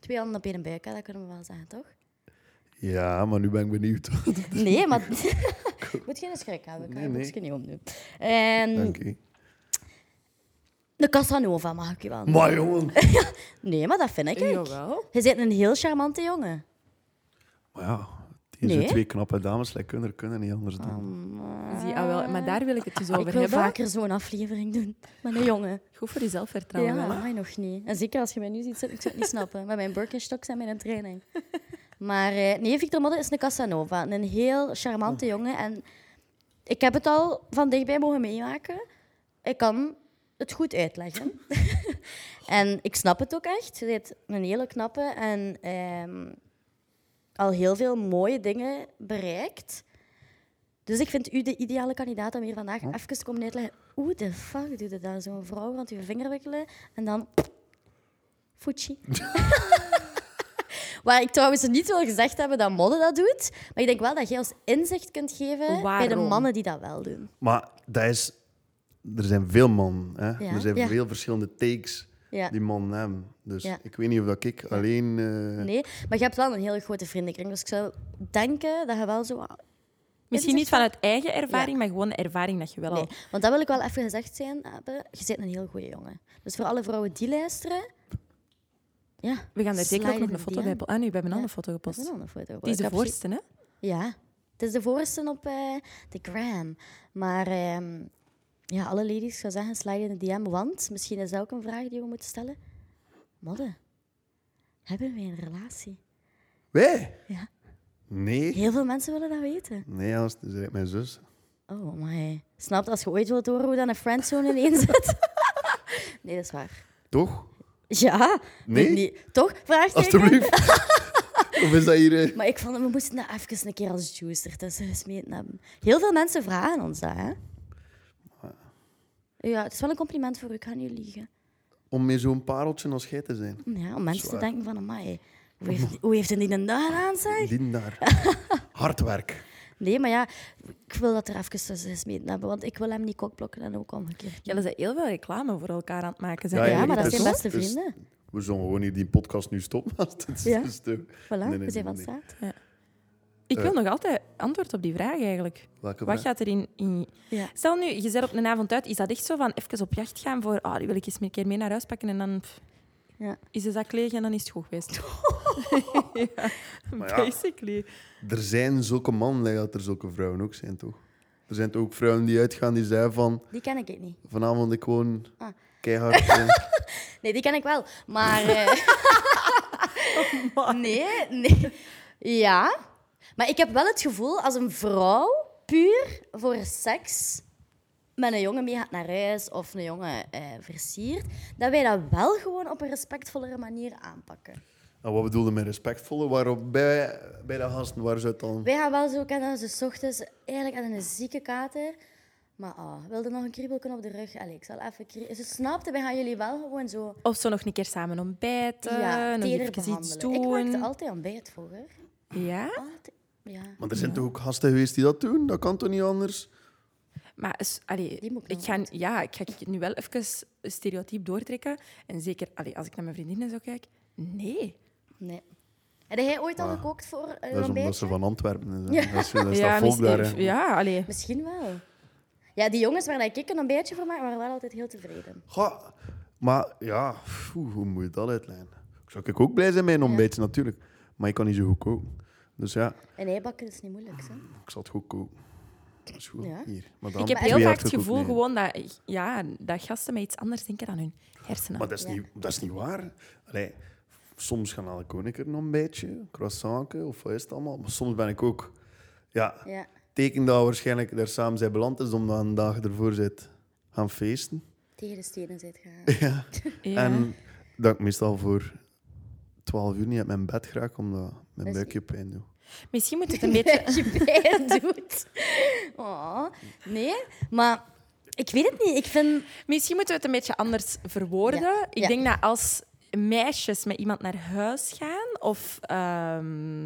A: Twee handen op één buik, hè, dat kunnen we wel zeggen,
C: (laughs)
A: toch?
C: Ja, maar nu ben ik
A: (laughs)
C: benieuwd.
A: Nee, maar... Moet geen schrik hebben, ik kan
C: Nee,
A: je
C: nee.
A: boekje niet opdoen. En
C: Dank je.
A: de Casanova mag ik je wel noemen.
C: Maar jongen...
A: Nee, maar dat vind ik. ik.
B: Jawel.
A: Je bent een heel charmante jongen.
C: Maar ja, deze
A: Nee. Ehm.
C: twee knappe dames like, kunnen, kunnen niet anders doen.
B: Zie, ah, wel, maar daar wil ik het dus over
A: ik wil
B: hebben.
A: vaker zo'n aflevering doen met een jongen.
B: Goed voor je zelfvertrouwen.
A: Ja,
B: wel, hè?
A: mij nog niet. En zeker als je mij nu ziet zitten, ik zou het niet snappen. Met mijn Birkenstocks en mijn training. Maar eh, nee, Victor Modde is een Casanova. Een heel charmante jongen. En ik heb het al van dichtbij mogen meemaken. Ik kan het goed uitleggen. en ik snap het ook echt. Je bent een hele knappe en ehm, al heel veel mooie dingen bereikt. Dus ik vind u de ideale kandidaat om hier vandaag even te komen uitleggen. Hoe de fuck doet het dan? Zo'n vrouw rond je vinger wikkelen en dan... Fuji. Waar ik trouwens niet wil gezegd hebben dat modden dat doet. Maar ik denk wel dat jij ons inzicht kunt geven bij de
B: Waarom?
A: mannen die dat wel doen.
C: Maar dat is... Er zijn veel mannen. Hè?
A: Ja,
C: Er zijn
A: ja.
C: veel verschillende takes
A: Ja.
C: die mannen hebben. Dus
A: Ja.
C: ik weet niet of dat ik alleen... eh,
A: Nee, maar je hebt wel een hele grote vriendenkring. Dus ik zou denken dat je wel zo...
B: Misschien niet vanuit eigen ervaring, maar gewoon de ervaring dat je wel
A: Nee,
B: al...
A: want dat wil ik wel even gezegd zijn, hebben. Je bent een heel goede jongen. Dus voor alle vrouwen die luisteren... Ja,
B: We gaan daar zeker ook
A: Slide
B: nog
A: in
B: een foto
A: DM.
B: bij... hebben. Ah, nu, we hebben al
A: Ja.
B: een foto
A: dat is
B: gepost.
A: een andere foto.
B: Die is
A: Ik
B: de
A: heb ze-
B: voorste, hè?
A: Ja, het is de voorste op eh, de gram. Maar ehm, ja, alle ladies, ik zou zeggen, slide in de DM. Want misschien is dat ook een vraag die we moeten stellen. Modde, hebben wij een relatie?
C: Wij?
A: Ja.
C: Nee.
A: Heel veel mensen willen dat weten.
C: Nee, anders is het mijn zus.
A: Oh, maar Snap als je ooit wilt horen hoe dan een friendzone ineens zit? (laughs) nee, dat is waar.
C: Toch?
A: Ja.
C: Nee?
A: Toch? Vraagteken.
C: Alsjeblieft. (laughs) of is dat hier... eh,
A: Maar ik vond, we moesten dat even een keer als Dus juice ertussen gesmeten hebben. Heel veel mensen vragen ons dat, hè? Ja, het is wel een compliment voor u, ik ga niet liegen.
C: om met zo'n pareltje als jij te zijn.
A: Ja, om mensen
C: Zwaar.
A: te denken van, amai, hoe
C: (laughs)
A: heeft, hoe heeft hij die een dag aan, zeg? (laughs)
C: Die daar. Hard werk.
A: Nee, maar ja, ik wil dat er even tussen gesmeten hebben, want ik wil hem niet kokblokken en ook omgekeerd.
B: Jullie zijn heel veel reclame voor elkaar aan het maken. Zijn
C: Ja,
A: Ja, maar dat
C: dus-
A: zijn beste
C: dus-
A: vrienden.
C: We zullen gewoon hier die podcast nu stoppen. als het is
A: Ja.
C: te stuk.
A: Voilà,
C: Nee, nee,
A: we zijn
C: nee,
A: van
C: nee.
A: straat.
B: Ik wil nog altijd antwoord op die vraag eigenlijk.
C: Eh. Welke
B: Wat
C: vraag?
B: gaat er in... in-
A: Ja.
B: Stel nu, je bent op een avond uit. Is dat echt zo van even op jacht gaan voor... Ah, die wil ik eens een keer mee naar huis pakken en dan... pff,
A: Ja.
B: Is de zak leeg en dan is het goed
A: (laughs)
B: geweest. ja,
C: ja.
B: basically.
C: Er zijn zulke mannen, like dat er zulke vrouwen ook zijn, toch? Er zijn toch ook vrouwen die uitgaan die zeiden van...
A: Die ken ik niet.
C: Vanavond ik gewoon
A: Ah.
C: keihard... eh,
A: Nee, die ken ik wel.
B: (laughs)
A: (laughs)
B: Oh,
A: Maar. eh, nee, nee. Ja, Maar ik heb wel het gevoel, als een vrouw puur voor seks met een jongen mee gaat naar huis of een jongen eh, versiert, dat wij dat wel gewoon op een respectvollere manier aanpakken.
C: En Nou, wat bedoelde met respectvolle? Waarop bij, bij de gasten, waar ze het dan...
A: Wij gaan wel zo kennen, ze 's ochtends eigenlijk aan een zieke kater. Maar ah, wilde nog een kriebelken op de rug? Allee, ik zal even krie- Ze snapte, wij gaan jullie wel gewoon zo...
B: Of zo nog een keer samen ontbijten,
A: Ja,
B: nog
A: teder
B: even iets
A: behandelen.
B: doen.
A: Ik maakte altijd ontbijt vroeger.
B: Ja,
A: Altijd. Ja.
C: Maar er zijn toch ook gasten geweest die dat doen? Dat kan toch niet anders?
B: maar is- allee,
A: Die moet ik
B: ik
A: nog
B: ga, ja, ik ga het nu wel even stereotyp doortrekken. En zeker allee, als ik naar mijn vriendinnen zo kijk, nee.
A: Nee. Heb jij ooit al gekookt voor eh, een
C: Ah. Dat is omdat
A: ontbijtje?
C: ze van Antwerpen zijn. Dat is,
B: (laughs)
C: dat is dat volk
B: misschien-
C: daar. hè.
B: ja, allee.
A: Misschien wel. Ja, die jongens waar ik een ontbijtje voor maak, waren wel altijd heel tevreden.
C: Goh, maar ja, oeh, hoe moet je dat uitlijnen? Zou ik ook blij zijn met een ontbijtje, natuurlijk. Maar ik kan niet zo goed koken. Dus ja,
A: En ei bakken is niet moeilijk, hè?
C: ik zal het goed koken. Dat is goed.
A: Ja.
C: Hier. Maar dan
B: Ik heb
C: twee
B: heel
C: jaar
B: vaak het
C: gekookt,
B: gevoel
C: nee.
B: gewoon dat, ja, dat gasten met iets anders denken dan hun hersenen.
C: Maar dat is, niet, dat is niet waar. Allee, soms gaan alle koninker een ontbijtje, croissantje of wat is het allemaal. Maar soms ben ik ook... Ja,
A: Ja.
C: teken dat we waarschijnlijk daar samen zijn beland is, omdat een dag ervoor zit gaan feesten.
A: Tegen de stenen zit (laughs) gaan.
C: Ja.
B: Ja.
C: En dat ik meestal voor 12 uur niet uit mijn bed geraak, omdat mijn buikje pijn doet.
B: Misschien moet het een
C: (laughs)
B: beetje...
A: Dat je pijn doet. Oh, nee, maar ik weet het niet. Ik vind...
B: Misschien moeten we het een beetje anders verwoorden.
A: Ja,
B: Ik
A: ja.
B: denk dat als meisjes met iemand naar huis gaan of ehm,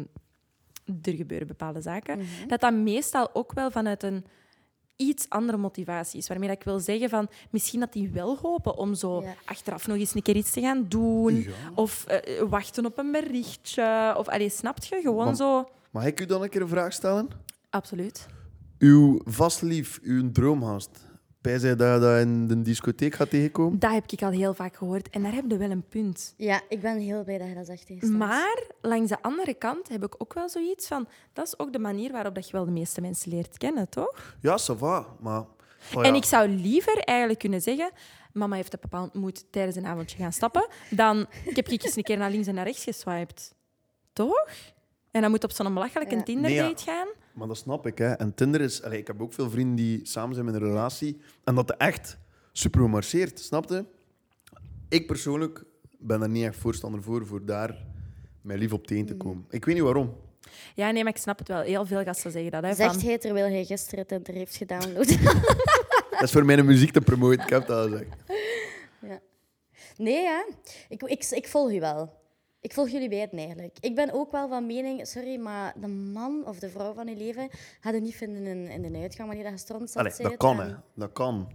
B: er gebeuren bepaalde zaken,
C: Mhm.
B: dat dat meestal ook wel vanuit een iets andere motivatie is. Waarmee dat ik wil zeggen van misschien dat die wel hopen om zo
A: Ja.
B: achteraf nog eens een keer iets te gaan doen
C: Ja.
B: of eh, wachten op een berichtje. Of allee, snapt je gewoon
C: Want-
B: zo?
C: Mag ik u dan een keer een vraag stellen?
B: Absoluut.
C: Uw vastlief, uw droomgast, bij zij dat je dat in de discotheek gaat tegenkomen?
B: Dat heb ik al heel vaak gehoord en daar heb je wel een punt.
A: Ja, ik ben heel blij dat je dat zegt tegen Stan.
B: Maar langs de andere kant heb ik ook wel zoiets van... Dat is ook de manier waarop dat je wel de meeste mensen leert kennen, toch?
C: Ja, ça va, maar... Oh ja.
B: En ik zou liever eigenlijk kunnen zeggen... Mama heeft een bepaald moed tijdens een avondje gaan stappen... dan ik heb ik eens een keer naar links en naar rechts geswiped. Toch? En dan moet op zo'n belachelijke
A: Ja.
B: Tinder-date
C: Nee, ja.
B: gaan.
C: Maar dat snap ik, hè. En Tinder is... Allee, ik heb ook veel vrienden die samen zijn met een relatie. En dat echt super gemarcheerd, snap je? Ik persoonlijk ben er niet echt voorstander voor, voor daar mij lief op teen te komen. Ik weet niet waarom.
B: Ja, nee, maar ik snap het wel. Heel veel gasten zeggen dat. Hè,
A: Zegt
B: van-
A: hij terwijl hij gisteren Tinder heeft gedownload.
C: Dat is voor (laughs) mijn muziek te promoten, ik heb dat al gezegd.
A: Nee, ja. Ik, ik, ik volg u wel. Ik volg jullie bij het eigenlijk. Ik ben ook wel van mening, sorry, maar de man of de vrouw van je leven gaat het niet vinden in, in de uitgang wanneer dat je stront zat.
C: Allee, dat kan, hè. Dat kan.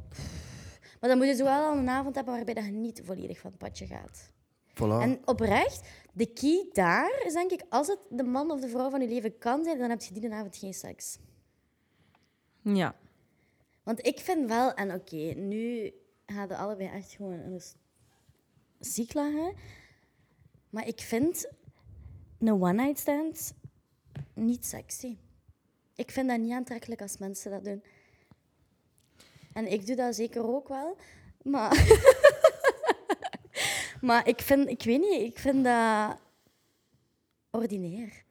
A: Maar dan moet je zo wel al een avond hebben waarbij dat je niet volledig van het padje gaat.
C: Voilà.
A: En oprecht, de key daar is denk ik, als het de man of de vrouw van je leven kan zijn, dan heb je die avond geen seks.
B: Ja.
A: Want ik vind wel, en oké, nu gaan de allebei echt gewoon in de s- ziek lagen. Maar ik vind een one-night stand niet sexy. Ik vind dat niet aantrekkelijk als mensen dat doen. En ik doe dat zeker ook wel, maar... (laughs) maar ik vind, ik weet niet, ik vind dat ordinair.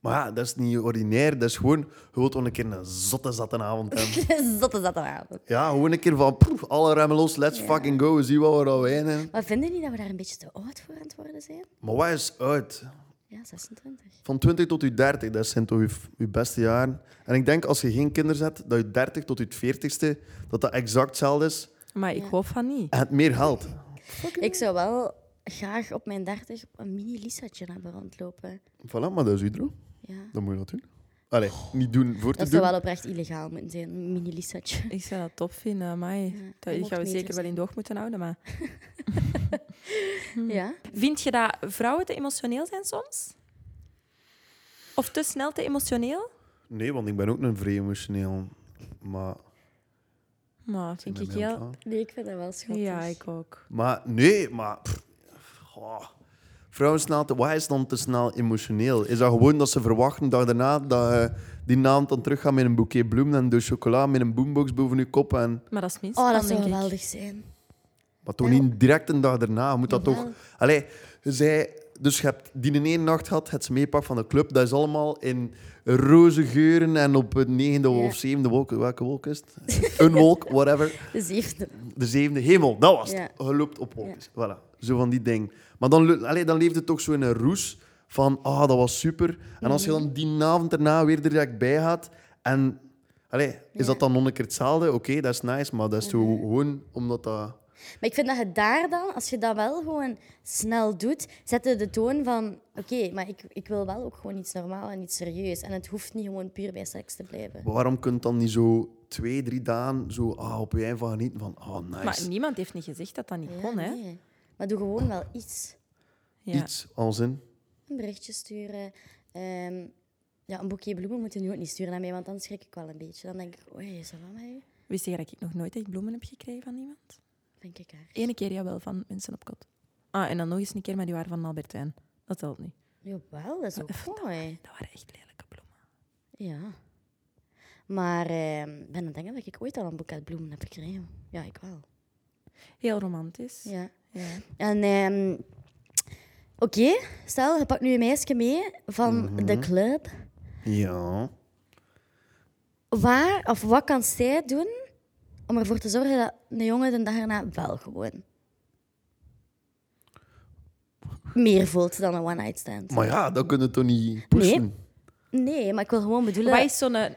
C: Maar ja, dat is niet ordinair. Dat is gewoon... Je wilt wel een keer een zotte zatte avond
A: (laughs)
C: hebben.
A: (laughs) Zot is dat dan aan.
C: ja, gewoon een keer van... poef, alle remmen los, let's fucking go. Zie wat we al wijnen.
A: Maar vinden jullie dat we daar een beetje te oud voor aan het worden zijn?
C: Maar wat is uit?
A: Ja, 26.
C: Van 20 tot je 30, dat zijn toch je, je beste jaren. En ik denk als je geen kinderen zet, dat je 30 tot je 40ste, dat dat exact hetzelfde is
B: Maar ik hoop van niet.
C: en het meer geld.
A: Ik zou wel graag op mijn 30 een mini Lisatje hebben rondlopen.
C: Voilà, maar dat is je droom.
A: Ja.
C: Dan moet je dat doen. Allee, niet doen voor te
A: Dat
C: doen.
A: zou wel oprecht illegaal moeten zijn, een mini Lisatje.
B: Ik zou dat top vinden, maar
A: je
B: Dat
A: mocht
B: gaan we
A: mee
B: zeker
A: dus.
B: wel in de oog moeten houden. Maar...
A: Ja?
B: Vind je dat vrouwen te emotioneel zijn soms? Of te snel te emotioneel?
C: Nee, want ik ben ook een vrij emotioneel. Maar,
B: Nou, vind ik heel...
A: Nee, ik vind dat wel schattig.
B: Ja, ik ook.
C: maar nee, maar... pff, goh. Vrouwen snel te... Wat is dan te snel emotioneel? Is dat gewoon dat ze verwachten dat daarna dat je die naam dan teruggaat met een boeket bloemen en door chocola met een boombox boven je kop en...
B: Maar dat is minst.
A: Oh,
B: dan,
A: dat zou
B: denk ik.
A: geweldig zijn.
C: Maar toch
A: Ja.
C: niet direct een dag daarna. Je Moet dat
A: Jawel.
C: toch... Allee, zij... Dus je hebt die in één nacht gehad, het meepak van de club. Dat is allemaal in roze geuren en op het negende
A: Ja.
C: of zevende wolk. Welke wolk is het? (laughs) Een wolk, whatever.
A: De zevende.
C: De zevende hemel, dat was het.
A: Ja.
C: Je loopt op wolkjes. Voilà, zo van die ding. Maar dan, le- allee, dan leefde het toch zo in een roes van, ah, dat was super. En als je
A: Mhm.
C: dan die avond daarna weer direct bij had en... Allee, is dat dan nog een keer hetzelfde? Oké, dat is nice, maar dat is zo gewoon omdat dat...
A: Maar ik vind dat je daar dan, als je dat wel gewoon snel doet, zet je de toon van... Oké, maar ik, ik wil wel ook gewoon iets normaal en iets serieus. En het hoeft niet gewoon puur bij seks te blijven.
C: Maar waarom kunt dan niet zo twee, drie dagen zo ah, op je eigen van genieten? Van, ah, nice.
B: Maar niemand heeft niet gezegd dat dat niet kon, hè?
A: nee. Maar doe gewoon wel iets.
B: Ja.
C: Iets, als in.
A: Een berichtje sturen. ehm, ja, een boekje bloemen moet je nu ook niet sturen naar mij, want dan schrik ik wel een beetje. Dan denk ik, oei, is dat van mij?
B: Wist jij dat ik nog nooit echt bloemen heb gekregen van iemand?
A: Denk ik haar.
B: Eén keer jawel, van mensen op kot. Ah, en dan nog eens een keer, maar die waren van Albertijn. Dat telt niet.
A: Jawel, dat is ook mooi.
B: Dat waren echt lelijke bloemen.
A: Ja. Maar ehm, ik ben aan het denken dat ik ooit al een boeket bloemen heb gekregen. Ja, ik wel.
B: Heel romantisch.
A: Ja.
B: Ja.
A: En ehm, oké, stel, je pakt nu een meisje mee van de club.
C: Ja.
A: Waar of wat kan zij doen om ervoor te zorgen dat de jongen de dag erna wel gewoon meer voelt dan een one-night stand?
C: Maar ja, dat kunnen we toch niet pushen?
A: Nee. Nee, maar ik wil gewoon bedoelen...
B: Wat is zo'n... eh,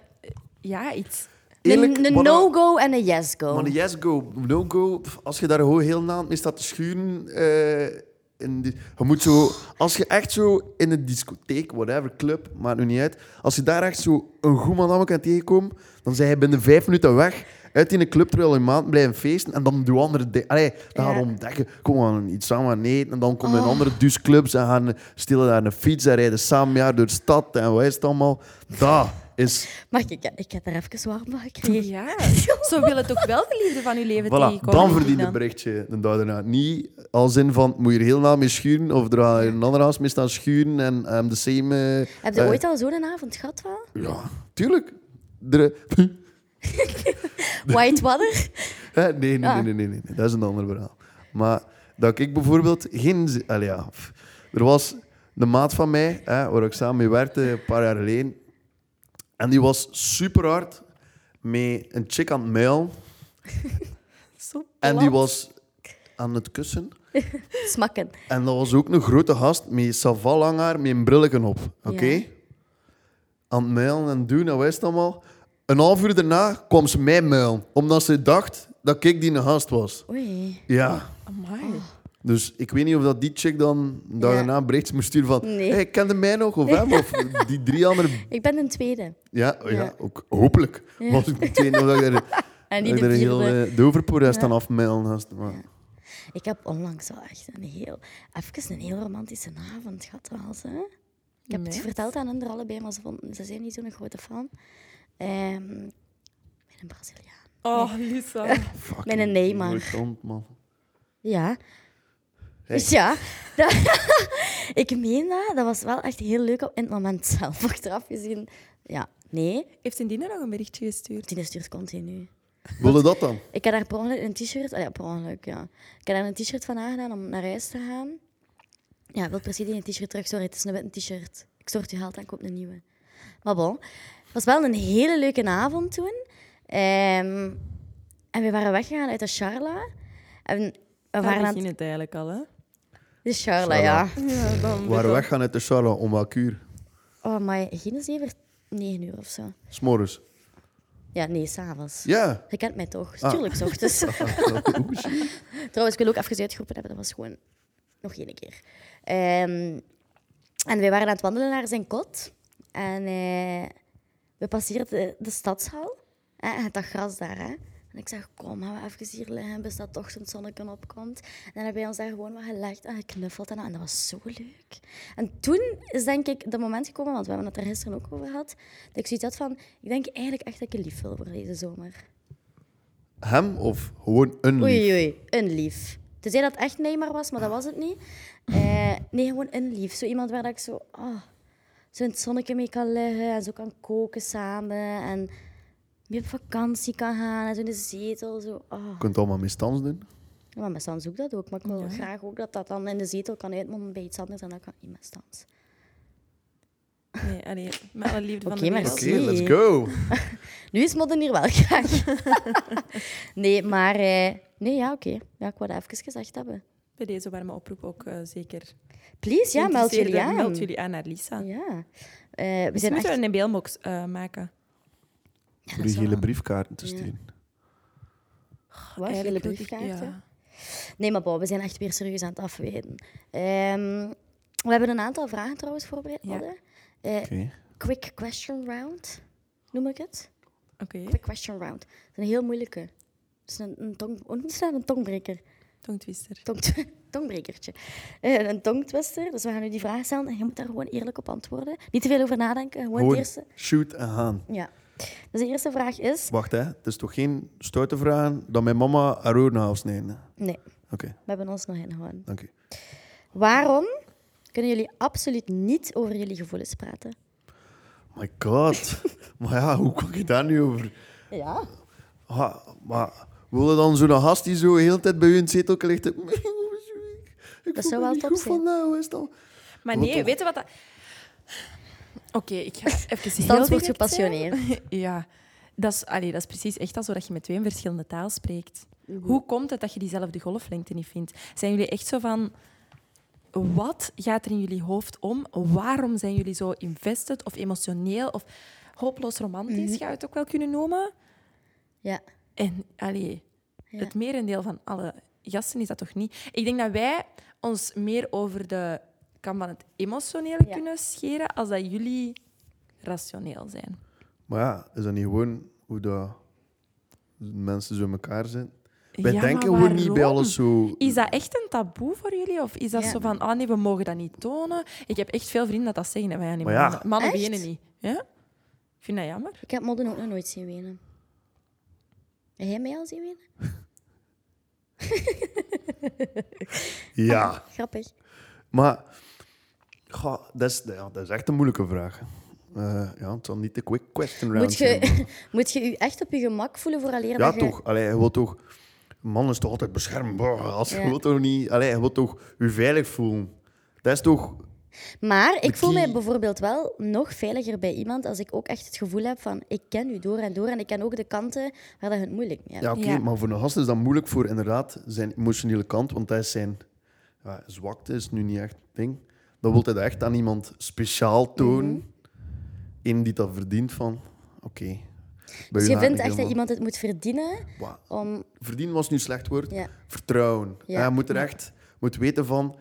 B: Ja, iets...
C: Eerlijk,
A: een een
C: wat dan-
A: no-go en een yes-go.
C: Maar een yes-go, no-go, pff, als je daar gewoon heel na mee staat te schuren... eh, in die- je moet zo... Als je echt zo in een discotheek, whatever, club, maakt nu niet uit. Als je daar echt zo een goed man kan tegenkomen, dan zijn je binnen vijf minuten weg uit in een club, terwijl je een maand blijven feesten. En dan doe andere dingen. Allee, dan gaan
A: Ja.
C: we ontdekken. Kom, we gaan iets samen gaan eten. En dan komen we in andere dusclubs en gaan stelen daar een fiets en rijden samen jaar door de stad. En wat is het allemaal? Dat is...
A: Maar ik, ik heb er even warm van gekregen.
B: (laughs)
C: (laughs)
B: Ja. Zo willen toch wel de liefde van uw leven
C: Voilà,
B: tegenkomen?
C: dan verdient
B: Dina?
C: het berichtje de dag daarna. Niet als in van, moet je er heel na mee schuren, of er gaat een ander haas mee staan schuren en ehm, de same... eh,
A: Heb je
C: eh,
A: ooit al zo'n avond gehad wel?
C: Ja, tuurlijk. Er- (laughs) eh,
A: Whitewater?
C: nee, nee,
A: Ah.
C: nee, nee, nee, nee, nee, dat is een ander verhaal. Maar dat ik bijvoorbeeld geen... zi- Allee, ja, pff. er was de maat van mij, hè, waar ik samen mee werkte, een paar jaar geleden, en die was super hard met een chick aan het muil,
B: Zo
C: en die
B: plat.
C: was aan het kussen.
A: (laughs) Smakken.
C: En dat was ook een grote gast met saval lang haar, met een brilletje op. Oké?
A: Ja.
C: Aan het muilen en doen, dat wist allemaal. Een half uur daarna kwam ze mij muilen, omdat ze dacht dat ik die een gast was.
A: Oei.
C: Ja.
B: Amai.
A: Oh,
C: Dus ik weet niet of dat die chick dan een dag
A: Ja.
C: daarna een berichtje moest sturen van...
A: Nee.
C: hey, kende mij nog? Of
A: (laughs)
C: hem? Of die drie andere...
A: Ik ben een tweede.
C: Ja, oh ja,
A: Ja.
C: ook hopelijk.
A: Ja.
C: Was ik meteen of dat ik daar,
A: (laughs) En niet
C: dat
A: de
C: ik daar een
A: vierde.
C: heel eh, doverpoer is
A: Ja.
C: dan afmuilen. gast. Maar,
A: Ik heb onlangs wel echt een heel... Even een heel romantische avond gehad wel, ze. Ik heb het
B: Nice.
A: verteld aan hen er allebei, maar ze, vonden, ze zijn niet zo'n grote fan. Ehm, met een Braziliaan.
B: Oh, Lisa.
C: fucking
A: Met een Neymar.
C: irritant, man.
A: Ja.
C: Hey.
A: Ja. (laughs) Dat- ik meen dat. Dat was wel echt heel leuk op, in het moment zelf. (laughs) Achteraf gezien... Ja, nee.
B: (laughs) Heeft Indina nog een berichtje gestuurd?
A: Tine stuurt continu.
C: Wilde dat dan?
A: Ik heb daar per ongeluk een t-shirt... ah ja, per ongeluk, ja. Ik heb daar een t-shirt van aangedaan om naar huis te gaan. Ja, ik wil precies die t-shirt terug. Sorry, het is een witte t-shirt. Ik stort je geld en koop een nieuwe. Maar bon, het was wel een hele leuke avond toen. Ehm, en we waren weggegaan uit de Charla. En we
B: Daar
A: waren aan
B: begint
A: het...
B: het eigenlijk al, hè?
A: De Charla,
C: Charla.
A: ja.
B: Ja, dan
C: We waren weggaan uit de Charla om welk uur?
A: Oh, maar geen zeven, negen uur of zo.
C: S'morgens.
A: Ja, nee, s'avonds.
C: Ja.
A: Je kent mij toch?
C: Ah.
A: Tuurlijk, s ochtends.
C: Oeh, shit.
A: Trouwens, ik wil ook even uitgeroepen hebben. Dat was gewoon nog één keer. Ehm, en wij waren aan het wandelen naar zijn kot. En eh, we passeerden de, de stadshal. Hè, en dat gras daar. Hè. En ik zeg, kom, gaan we even hier liggen, bis dat ochtendzonnetje opkomt. En dan hebben wij ons daar gewoon wat gelegd en geknuffeld. En, dat- en dat was zo leuk. En toen is denk ik dat moment gekomen, want we hebben het er gisteren ook over gehad, dat ik zoiets had van, ik denk eigenlijk echt dat ik je lief wil voor deze zomer.
C: Hem of gewoon een lief?
A: Oei, oei, een lief. Tenzij dat echt Neymar was, maar dat was het niet. Eh, nee, gewoon een lief. Zo iemand waar dat ik zo, ah, zo in het zonnetje mee kan liggen en zo kan koken samen en mee op vakantie kan gaan en zo in de zetel. Zo, ah.
C: Je kunt allemaal misstans doen.
A: Ja, maar met Stans doe ik dat ook. Maar ik wil
B: Ja.
A: graag ook dat dat dan in de zetel kan uitmonden bij iets anders. En dat kan niet met Stans.
B: Nee, allee, met alle liefde
A: Oké,
B: van de
A: maar
B: wereld.
C: Oké,
A: Zie.
C: let's go.
A: Nu is modden hier wel
B: (laughs)
A: graag. nee, maar... eh, nee, ja, oké. Ja, ik wou dat even gezegd hebben.
B: Bij deze warme oproep ook eh, zeker.
A: Please, ja, meld jullie
B: Geïnteresseerden,
A: aan.
B: Meld jullie aan naar Lisa.
A: Ja. Eh, we
B: Misschien
A: zijn
B: moeten
A: echt...
B: we een mailbox eh, maken.
C: Voor die
A: wel
C: gele
A: waar.
C: briefkaarten te
A: Ja.
C: sturen.
A: Wat, gele
B: Eigenlijk moet ik-
A: briefkaarten?
B: ja.
A: Eh, Nee, maar bon, we zijn echt weer serieus aan het afweten. Ehm, we hebben een aantal vragen trouwens voorbereid.
B: Ja.
A: Madde. Eh,
C: Oké.
A: quick question round, noem ik het.
B: Oké,
A: Quick question round. Dat is een heel moeilijke. Dat is een, een, tong, oh, niet zo snel een tongbreker.
B: tongtwister.
A: Tong, (laughs) tongbrekertje. Eh, een tongtwister. Dus we gaan nu die vraag stellen en je moet daar gewoon eerlijk op antwoorden. Niet te veel over nadenken. Gewoon,
C: Gewoon
A: het eerste.
C: shoot en gaan.
A: Ja. Dus de eerste vraag is...
C: Wacht, hè. Het is toch geen stoute vraag dat mijn mama haar oren gaat snijden?
A: Nee,
C: Oké,
A: we hebben ons nog ingehouden.
C: dank u.
A: Waarom kunnen jullie absoluut niet over jullie gevoelens praten?
C: My god.
A: (laughs)
C: maar ja, hoe kom je daar nu over?
A: Ja.
C: Ha, maar wil je dan zo'n gast die zo heel de tijd bij u in het zetel ligt? (laughs) Ik voel
A: zou
C: me
A: wel
C: niet
A: top
C: goed
A: zijn.
C: vandaag, hoe is dat?
B: Maar
C: Wat
B: nee,
C: toch?
B: weet je wat dat... Oké, ik ga even heel
A: Stans wordt
B: direct
A: gepassioneerd.
B: zijn. Ja, dat is, allee, dat is precies echt alsof je met twee verschillende taal spreekt.
A: Mhm.
B: Hoe komt het dat je diezelfde golflengte niet vindt? Zijn jullie echt zo van... Wat gaat er in jullie hoofd om? Waarom zijn jullie zo invested of emotioneel of hopeloos romantisch,
A: Mhm.
B: ga je het ook wel kunnen noemen?
A: Ja.
B: En allee,
A: Ja.
B: het merendeel van alle gasten is dat toch niet? Ik denk dat wij ons meer over de kan van het emotionele
A: Ja.
B: kunnen scheren als dat jullie rationeel zijn.
C: Maar ja, is dat niet gewoon hoe dat mensen zo in elkaar zitten? Wij
B: Ja,
C: denken
B: maar
C: gewoon niet bij
B: waarom?
C: alles zo...
B: Is dat echt een taboe voor jullie? Of is dat
A: Ja.
B: zo van, ah nee, we mogen dat niet tonen? Ik heb echt veel vrienden dat dat zeggen. Maar ja, nee,
C: Maar ja.
B: mannen, mannen
A: Echt?
B: beginnen niet. Ja? Ik vind dat jammer.
A: Ik heb Modden ook nog nooit zien wenen. Heb jij mij al zien wenen?
C: Ja,
A: Grappig.
C: maar... Goh, dat, is, ja, dat is echt een moeilijke vraag. Eh, ja, het zal niet de quick question round
A: Moet (laughs)
C: zijn, maar-
A: je, moet je je echt op je gemak voelen voor alleen
C: Ja,
A: dat je-
C: toch. Allee, je wilt toch... Een Man is toch altijd beschermd. Brr, Als je
A: Ja.
C: wilt toch niet... Allee, je wilt toch je veilig voelen. Dat is toch...
A: Maar ik
C: Moet
A: voel mij
C: die-
A: bijvoorbeeld wel nog veiliger bij iemand als ik ook echt het gevoel heb van ik ken u door en door en ik ken ook de kanten waar dat je het moeilijk mee hebt.
C: Ja, oké,
B: Ja.
C: maar voor een gast is dat moeilijk voor inderdaad zijn emotionele kant, want dat is zijn ja, zwakte, is nu niet echt een ding. Dan wil hij dat echt aan iemand speciaal tonen.
A: Mhm.
C: Eén die dat verdient van, oké. bij
A: Dus
C: u
A: je
C: laat
A: vindt echt
C: ik
A: dat
C: helemaal-
A: iemand het moet verdienen
C: Wa-
A: om...
C: Verdienen was nu een slecht woord.
A: Ja.
C: Vertrouwen.
A: Ja.
C: Ja. Je moet er echt moet weten van,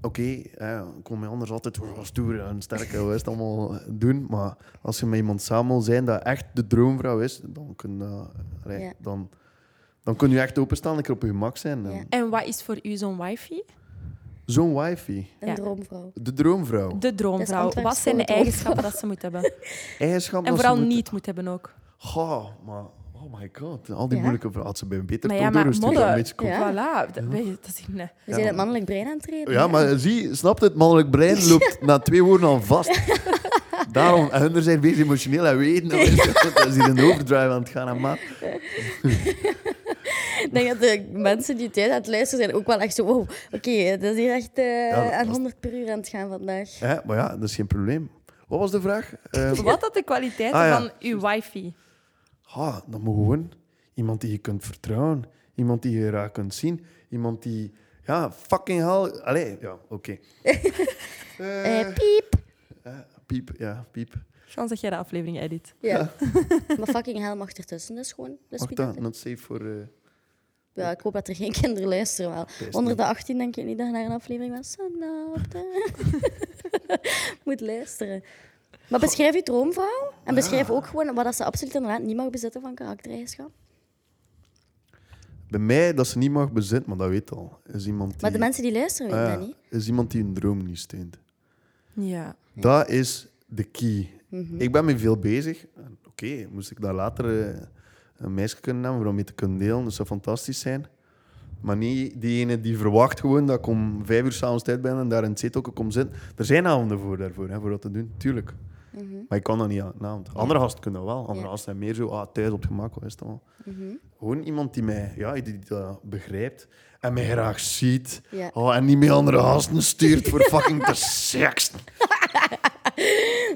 C: oké, ja, ik kom mij anders altijd oh, stoer en sterk en wat is het allemaal doen, maar als je met iemand samen wil zijn dat echt de droomvrouw is, dan kun je, allee,
A: Ja.
C: dan, dan kun je echt openstaan en keer op je gemak zijn. En
A: Ja.
B: En wat is voor u zo'n wifi?
C: Zo'n wifi,
A: Een
B: Ja.
A: droomvrouw.
C: de droomvrouw.
B: De droomvrouw.
A: Antwerps
B: Wat zijn de
A: voor het hoofd.
B: eigenschappen dat ze moet
A: (laughs)
B: hebben?
C: Eigenschap
B: En
C: dat ze
B: vooral
C: moeten-
B: niet moet hebben ook.
C: Goh, maar... Oh my god, al die
A: Ja.
C: moeilijke vragen. Had ze bij een beter
B: Maar
C: maar
B: ja, maar
C: een
B: modder-
C: beetje kon-
A: Ja.
B: Voilà, dat, weet je, dat is eh, een-
A: We zijn het mannelijk brein aan het trainen.
C: Ja, maar zie, snapt het mannelijk brein loopt na twee woorden al vast. Daarom, en hun zijn weer emotioneel en weten. Dat is, dat is hier een overdrive aan het gaan, hè, maat.
A: Ik denk dat de mensen die tijd aan het luisteren zijn ook wel echt zo... Wow, oké, dat is hier echt eh,
C: Ja, dat
A: aan
C: was-
A: 100 per uur aan het gaan vandaag.
C: Hè, maar ja, dat is geen probleem. Wat was de vraag? Eh,
B: Wat dat de kwaliteiten
C: Ah, ja.
B: van uw wifi?
C: ah, dan moet gewoon iemand die je kunt vertrouwen. Iemand die je raak kunt zien. Iemand die... Ja, fucking hell. Allee, ja, oké. Eh,
A: Eh, piep.
C: piep, ja, piep.
B: Chance dat jij de aflevering edit.
A: Ja. (laughs) maar fucking hell mag ertussen, dus gewoon. Dus
C: Wacht,
A: wie dat
C: dat, not safe voor... eh,
A: Ja, ik hoop dat er geen (laughs) kinderen luisteren wel.
C: Best
A: Onder
C: niet.
A: de 18 denk ik niet dat je naar een aflevering van Sanapte (laughs) moet luisteren. Maar beschrijf je droomvrouw
C: Ah.
A: en beschrijf ook gewoon wat dat ze absoluut inderdaad niet mag bezitten van karaktereigenschap.
C: bij mij, dat ze niet mag bezitten, maar dat weet al. Is iemand die...
A: Maar de mensen die luisteren weten
C: Ah ja,
A: dat niet.
C: is iemand die een droom niet steunt.
B: Ja.
C: Dat is de key. Ik ben mee veel bezig. En Oké, moest ik daar later eh, een meisje kunnen hebben voor om mee te kunnen delen. Dat zou fantastisch zijn. Maar niet die ene die verwacht gewoon dat ik om vijf uur s'avonds tijd ben en daar in het zetelke kom zitten. Er zijn avonden voor daarvoor, hè, voor dat te doen. Tuurlijk. Maar ik kan dat niet aan de hand. Andere gasten kunnen dat wel. Andere
A: Mhm. Ja. Mhm.
C: gasten zijn meer zo, ah, thuis op het gemak, wat is dat wel. Gewoon iemand die mij ja, die dat begrijpt en mij graag ziet.
A: Ja.
C: Oh, en niet meer andere gasten stuurt voor fucking te (laughs) seks.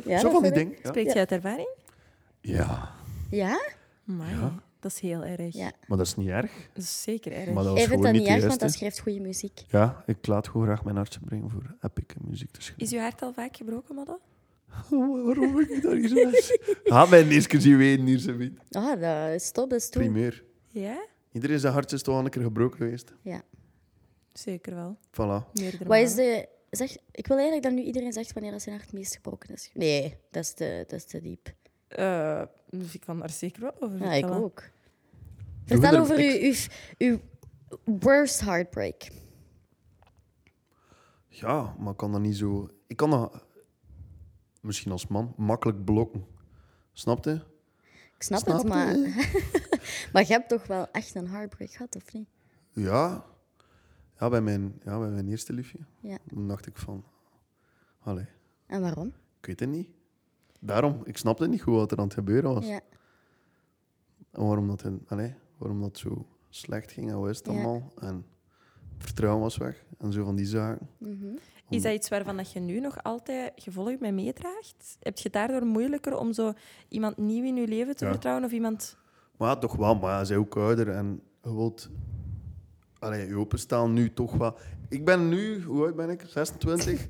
A: Ja, dat
C: zo van die
A: vind ik.
C: dingen. Ja.
B: Spreekt je uit ervaring?
C: Ja,
A: Ja?
B: Amai, dat is heel erg.
A: Ja.
C: maar dat is niet erg.
B: Dat is zeker erg.
C: Maar dat was
A: Ik vind
C: gewoon
A: dat niet
C: niet
A: erg,
C: de
A: want dat
C: juiste.
A: schrijft goede muziek.
C: Ja, ik laat gewoon graag mijn hartje brengen voor epic muziek te schrijven.
B: Is uw hart al vaak gebroken, Madde?
C: (laughs) Oh, waarom heb ik dat hier zo (laughs) Ga mijn eerste keer zien weten hier, ze weet.
A: Ah, dat is top, dat is toe.
C: Primeur.
B: Ja?
C: Iedereen zijn hartje is toch al een keer gebroken geweest.
A: Ja.
B: Zeker wel.
C: Voilà.
B: Meerdere
A: Wat is
B: malen.
A: de... Zeg, ik wil eigenlijk dat nu iedereen zegt wanneer dat zijn hart het meest gebroken is. Nee, dat is te, dat is te diep.
B: Eh, dus ik kan daar zeker wel over
A: Ja, ik
B: vertellen.
A: ook. Vertel
C: er-
A: over
C: ik-
A: uw, uw, uw worst heartbreak.
C: Ja, maar ik kan dat niet zo... Ik kan dat, misschien als man, makkelijk blokken. Snap je?
A: Ik snap,
C: Snap
A: het,
C: je?
A: maar... (laughs) maar je hebt toch wel echt een heartbreak gehad, of niet?
C: Ja. Ja, bij mijn, ja, bij mijn eerste liefje.
A: Ja.
C: Toen dacht ik van... Allee,
A: En waarom?
C: ik weet het niet. Daarom, ik snapte niet goed wat er aan het gebeuren was.
A: Ja.
C: En waarom dat, hun- allee, waarom dat zo slecht ging en wat is het
A: Ja.
C: allemaal. En het vertrouwen was weg. En zo van die zaken.
A: Mhm.
B: Is dat iets waarvan dat je nu nog altijd gevolg mee meedraagt? Heb je het daardoor moeilijker om zo iemand nieuw in je leven te
C: Ja.
B: vertrouwen? Of
C: (clears throat)
B: iemand...
C: Maar ja, toch wel, maar ja, zij ook ouder en je wilt... Allee, je openstaan nu toch wel... Ik ben nu, hoe oud ben ik? 26?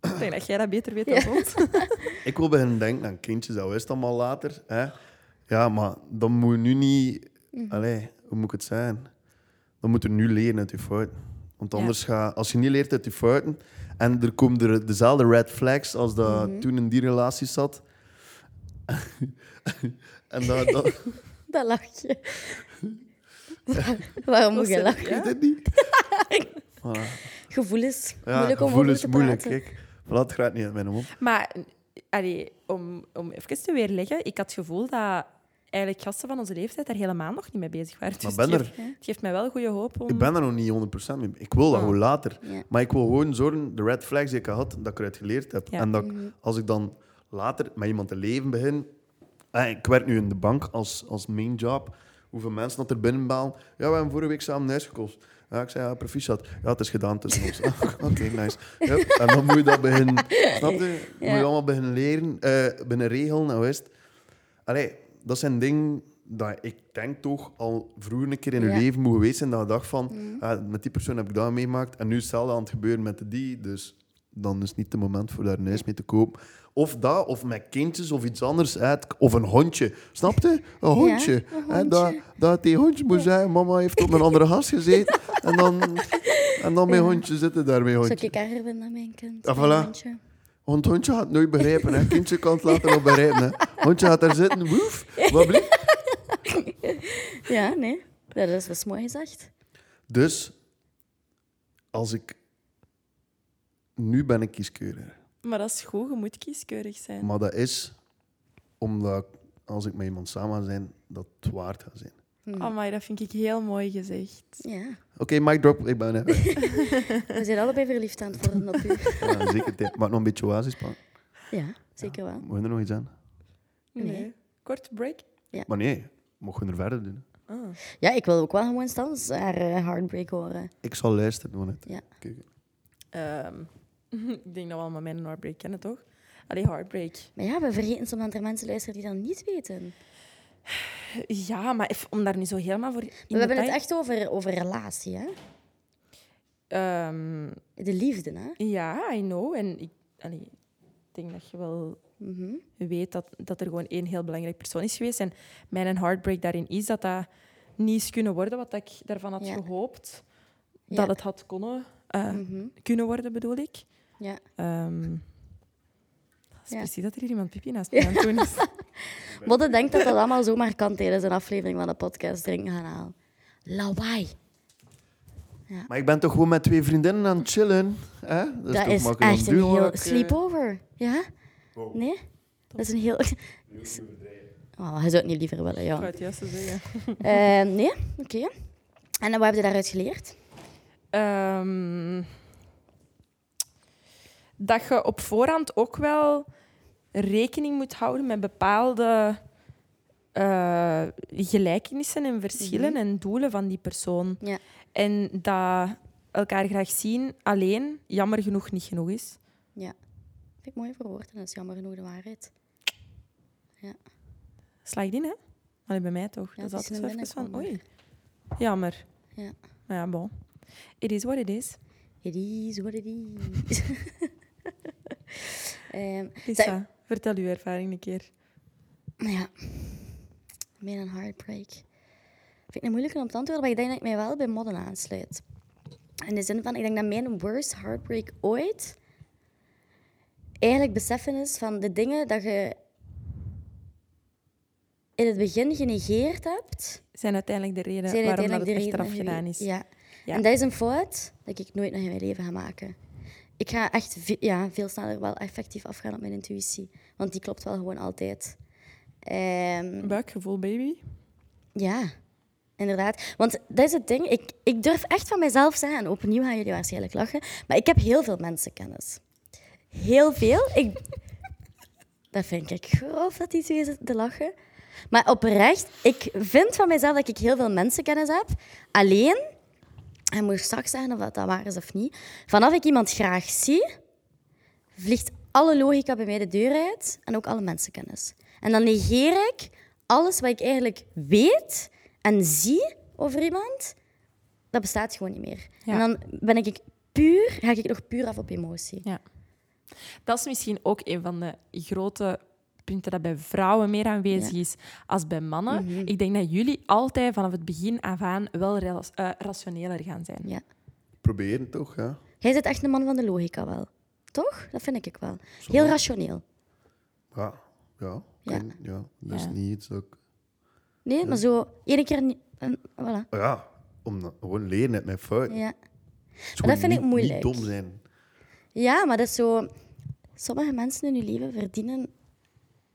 B: Ik denk dat jij dat beter weet
A: Ja.
B: dan
A: (laughs)
B: ons.
C: ik wil beginnen denken aan kindjes, dat wist allemaal later. Hè? Ja, maar dan moet je nu niet...
A: Mhm.
C: Allee, hoe moet ik het zijn? Dan moet je nu leren uit je fouten. Want
A: Ja.
C: anders ga... Als je niet leert uit je fouten... En er komen er dezelfde red flags als dat
A: Mhm.
C: toen in die relatie zat... (laughs) en dat... dat
A: Dat lachje. (laughs) Waarom moet je
B: Dat is-
A: lachen?
B: ja.
C: dat niet. Voilà.
A: Gevoelens.
C: Ja,
A: moeilijk om
C: gevoel
A: over
C: is
A: te
C: moeilijk.
A: praten.
C: Kijk, voilà, het gaat niet uit mijn mond.
B: Maar allee, om, om even te weerleggen, ik had het gevoel dat eigenlijk gasten van onze leeftijd daar helemaal nog niet mee bezig waren. Dus
C: ben
B: het,
C: er-
B: geeft, het geeft mij wel goede hoop om...
C: Ik ben er nog niet 100% mee. Ik wil dat gewoon later.
A: Ah. Ja.
C: Maar ik wil gewoon zorgen, de red flags die ik had, dat ik eruit geleerd heb.
B: Ja.
C: En dat ik-
A: Mhm.
C: als ik dan later met iemand te leven begin... eh, Ik werk nu in de bank als, als main job. Hoeveel mensen dat er binnenbaan. Ja, we hebben vorige week samen een huis gekocht. Ja, ik zei, ja, proficiat. Ja, het is gedaan tussen
A: (laughs)
C: ons. Ah, (laughs) Oké, nice. Hup, En dan moet je dat beginnen... Snap je? Moet
A: Ja.
C: je allemaal beginnen leren, eh beginnen regelen en wist. Allee, dat zijn dingen dat ik denk toch al vroeger een keer in je
A: Ja. Mhm.
C: leven moet geweest zijn dat je dacht van, ah, met die persoon heb ik dat meemaakt en nu is hetzelfde aan het gebeuren met die, dus dan is niet het moment voor daar een huis mee te kopen. Of dat, of met kindjes of iets anders, hè, het- of een hondje. Snap je? Een hondje.
A: een
C: hè,
A: hondje.
C: dat, dat die hondje moet zijn, mama heeft op een andere gast
A: (laughs)
C: gezeten en dan, en dan mijn hondje zitten daar, mijn
A: Zou
C: hondje.
A: ik erger vinden dan mijn kind?
C: Ah,
A: mijn
C: voilà.
A: kindje?
C: Want hondje gaat het nooit begrijpen. Hè. Kindje kan het later wel begrijpen. Hè. Hondje gaat daar zitten. Woef,
A: (laughs)
C: wat blieft.
A: Ja, nee. Dat is wel mooi gezegd.
C: Dus als ik. Nu ben ik kieskeurig.
B: Maar dat is goed, je moet kieskeurig zijn.
C: Maar dat is omdat ik, als ik met iemand samen ga zijn, dat het waard gaat zijn.
B: Amai, dat vind ik heel mooi gezegd.
A: Ja.
C: Oké, mic drop,
A: (laughs)
C: ik ben er.
A: We zijn allebei verliefd aan het worden op
C: (laughs)
A: u.
C: Ja, zeker. tijd. Maak nog een beetje oasis, maar
A: Ja, zeker wel.
C: moet je er nog iets aan?
A: Nee.
B: Kort break.
C: Maar nee, mogen we er verder doen.
B: Ah.
A: Ja, ik wil ook wel gewoon Stans haar eh, heartbreak horen.
C: Ik zal luisteren, maar net.
A: Ja.
C: Kijk.
B: Ehm, (laughs) ik denk dat we allemaal mijn heartbreak kennen, toch? Allee, heartbreak.
A: Maar ja, we vergeten soms dat er mensen luisteren die dat niet weten.
B: Eh, Ja, maar even om daar nu zo helemaal voor in
A: we hebben het
B: detail-
A: echt over, over relatie, hè?
B: Ehm,
A: De liefde, hè?
B: ja, I know. En ik allee, ik denk dat je wel
A: Mhm.
B: weet dat, dat er gewoon één heel belangrijk persoon is geweest. En mijn heartbreak daarin is dat dat niet is kunnen worden wat ik daarvan had
A: Ja.
B: gehoopt.
A: Ja.
B: Dat het had konnen, eh,
A: Mhm.
B: kunnen worden, bedoel ik.
A: Ja.
B: Ehm, dat is
A: Ja.
B: precies dat er hier iemand pipi naast mij aan het doen (laughs) is.
A: Modde denkt dat dat allemaal zomaar kan tijdens een aflevering van de podcast Drinken gaan halen. Lawaai.
C: Maar ik ben toch gewoon met twee vriendinnen aan het chillen. Hè? Dat is,
A: Dat
C: toch
A: is
C: makkelijk
A: echt
C: doen,
A: een heel...
C: hoor.
A: Sleepover, ja? Nee? Dat is een heel... (laughs) Oh, hij zou het niet liever willen,
B: Ik wou
A: ja.
B: het juist zo zeggen.
A: Eh, nee? Oké. En eh, wat heb je daaruit geleerd?
B: Ehm, dat je op voorhand ook wel rekening moet houden met bepaalde eh, gelijkenissen en verschillen en doelen van die persoon.
A: Mhm. Ja.
B: En dat elkaar graag zien alleen jammer genoeg niet genoeg is.
A: Vind ik mooi verwoord en dat is jammer genoeg de waarheid.
B: Slaag die, hè? Allee, bij mij toch?
A: Ja,
B: dat is
A: het is
B: altijd
A: een
B: zo even
A: winnaarswonder.
B: van, oei, jammer.
A: Ja.
B: Maar ja, bon. It is what it is.
A: It is what it is. (laughs) Ehm,
B: Lisa,
A: Zij-
B: vertel uw ervaring een keer.
A: maar Nou ja, meer een heartbreak. Vind ik het moeilijk om te antwoorden, maar ik denk dat ik mij wel bij modden aansluit. In de zin van, ik denk dat mijn worst heartbreak ooit eigenlijk beseffen is van de dingen dat je in het begin genegeerd hebt,
B: Zijn uiteindelijk de reden
A: zijn
B: waarom dat
A: uiteindelijk
B: het
A: de reden
B: achteraf
A: geweest.
B: gedaan is.
A: Ja.
B: Ja.
A: En dat is een fout dat ik nooit nog in mijn leven ga maken. Ik ga echt ve- ja, veel sneller wel effectief afgaan op mijn intuïtie. Want die klopt wel gewoon altijd. Ehm,
B: Buikgevoel, baby.
A: ja, inderdaad. Want dat is het ding. Ik, ik durf echt van mezelf zeggen, en opnieuw gaan jullie waarschijnlijk lachen, maar ik heb heel veel mensenkennis. Heel veel. Ik... (laughs) Dat vind ik grof dat die twee zitten te lachen. Maar oprecht, ik vind van mezelf dat ik heel veel mensenkennis heb. Alleen, en moet straks zeggen of dat, dat waar is of niet, vanaf ik iemand graag zie, vliegt alle logica bij mij de deur uit en ook alle mensenkennis. En dan negeer ik alles wat ik eigenlijk weet en zie over iemand, dat bestaat gewoon niet meer.
B: Ja.
A: En dan ben ik puur, ga ik nog puur af op emotie.
B: Ja. Dat is misschien ook een van de grote punten dat bij vrouwen meer aanwezig is als bij mannen.
A: Mhm.
B: Ik denk dat jullie altijd vanaf het begin af aan wel rela- eh, rationeler gaan zijn.
A: Ja.
C: Proberen toch, ja.
A: Jij zit echt een man van de logica wel. Toch? Dat vind ik ik wel. Heel rationeel.
C: Ja, ja.
A: Ja.
C: Kan- ja. Dat is
B: Ja.
C: niet iets dat ik...
A: Nee, maar zo één keer niet. en voilà.
C: Ja, om dat- gewoon leren uit mijn fouten.
A: Ja.
C: Het is
A: Maar dat
C: gewoon
A: vind ik
C: niet-
A: moeilijk.
C: Niet dom zijn.
A: ja, maar dat is zo. Sommige mensen in hun leven verdienen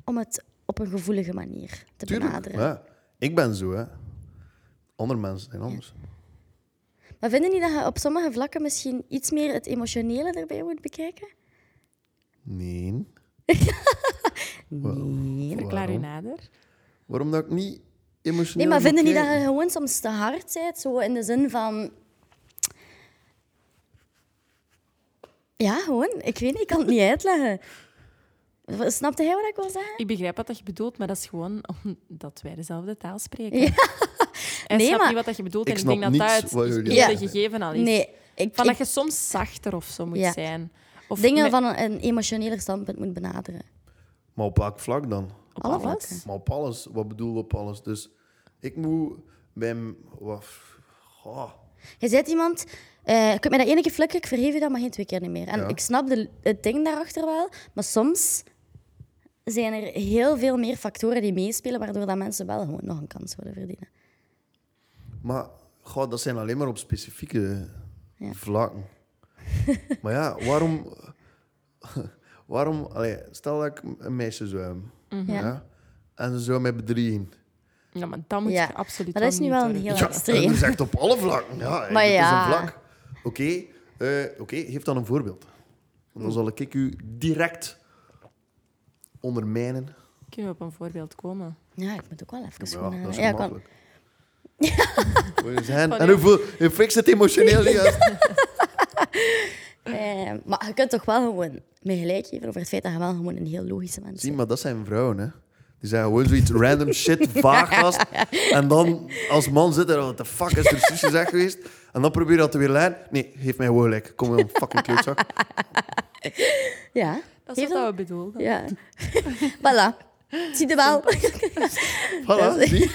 A: om het op een gevoelige manier te
C: Tuurlijk,
A: benaderen.
C: ja. Ik ben zo, hè. Andere mensen zijn anders.
A: Maar vinden jullie dat je op sommige vlakken misschien iets meer het emotionele erbij moet bekijken?
C: Nee.
A: Nee.
B: Verklaar u
C: Waarom?
B: nader.
C: Waarom dat ik niet emotioneel
A: Nee, maar vinden jullie
C: moet
A: dat
C: kijken?
A: je gewoon soms te hard bent? Zo in de zin van... Ja, gewoon. Ik weet niet, ik kan het
B: (laughs)
A: niet uitleggen. Snapte jij wat ik wil zeggen?
B: Ik begrijp wat dat je bedoelt, maar dat is gewoon omdat wij dezelfde taal spreken.
A: Ja. (laughs)
B: Hij
A: Nee,
B: snapt
A: maar-
B: niet wat dat je bedoelt
C: Ik
B: en ik
C: snap
B: denk dat
C: niets
B: dat het
C: wat jullie
B: eerste
A: zeggen.
B: gegeven al is.
A: Nee, ik,
B: Van dat
A: ik
B: je soms zachter of zo moet
A: Ja.
B: zijn. Of
A: dingen
B: met-
A: van een, een emotioneler standpunt moet benaderen.
C: Maar op welk vlak dan?
B: op
A: alle
B: alles.
A: vlakken.
C: Maar op alles. Wat bedoel op alles? Dus ik moet bij... m- Wat... Goh.
A: Je zegt iemand, eh je kunt mij dat ene keer flikken, ik vergeef je dat, maar geen twee keer niet meer. En
C: Ja.
A: ik snap de, het ding daarachter wel, maar soms zijn er heel veel meer factoren die meespelen, waardoor dat mensen wel gewoon nog een kans willen verdienen.
C: Maar goh, dat zijn alleen maar op specifieke
A: Ja. (laughs)
C: vlakken. maar ja, waarom... waarom allee, stel dat ik een meisje zou hebben.
A: Mhm. Ja.
C: ja, en ze zou mij bedriegen.
B: Ja, maar dat moet
A: Ja.
B: je absoluut
A: Maar dat is nu wel een heel
C: Ja,
A: extreem.
C: dat is echt op alle vlakken. Ja, hè,
A: Maar
C: dit
A: ja.
C: is een vlak. Oké, eh, oké, geef dan een voorbeeld. Want dan zal ik u direct ondermijnen.
B: Kunnen we op een voorbeeld komen?
A: Ja, ik moet ook wel even
C: Ja,
A: gewoon aan-
C: dat is
A: ja, ik kan-
C: (laughs) gemakkelijk. Wil je zeggen, en hoeveel... Je fixt het emotioneel juist.
A: Eh, maar je kunt toch wel gewoon me gelijk geven over het feit dat je wel gewoon een heel logische mens
C: (laughs) Zie,
A: bent.
C: maar dat zijn vrouwen, hè. Die zeggen gewoon zoiets random shit, vaag vast. En dan als man zit er, wat de fuck is er precies gezegd geweest? En dan probeer je dat te weer lijn. Nee, geef mij gewoon gelijk. Kom wel, fucking klootzak.
A: Ja.
B: Dat is
A: Heeft
B: wat
A: dat-
B: we bedoelden.
A: Ja. (laughs) voilà. Zie je wel.
C: Voilà,
A: (laughs)
C: zie.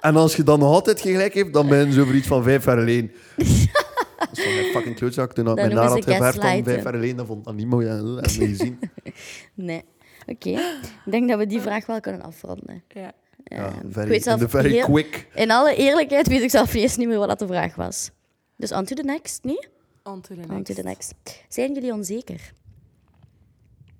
C: En als je dan nog altijd geen gelijk hebt, dan ben je zo voor iets van vijf jaar
A: (laughs)
C: alleen. Dat is van mijn fucking klootzak. Toen had
A: Dan
C: mijn
A: noemen
C: naad
A: ze
C: geverfd van
A: gaslighten.
C: vijf jaar alleen, dat vond dat niet mooi. Ja, dat heb je niet
A: (laughs)
C: gezien.
A: (laughs) Nee. Oké. Ik denk dat we die vraag wel kunnen afronden.
B: Ja.
A: Eh,
C: Ja,
A: ik
C: very,
A: weet
C: in
A: zelf
C: the very
A: heel-
C: quick.
A: In alle eerlijkheid weet ik zelf eerst niet meer wat dat de vraag was. Dus on to the next, niet?
B: On to the
A: On to
B: next.
A: the next. Zijn jullie onzeker?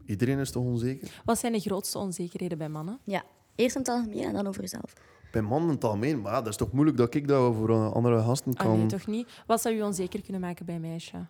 C: Iedereen is toch onzeker?
B: Wat zijn de grootste onzekerheden bij mannen?
A: Ja. Eerst in het algemeen en dan over jezelf.
C: Bij mannen in het algemeen, maar ja, dat is toch moeilijk dat ik dat voor eh, andere gasten
B: Ah
C: kan...
B: nee, toch niet? Wat zou je onzeker kunnen maken bij een meisje?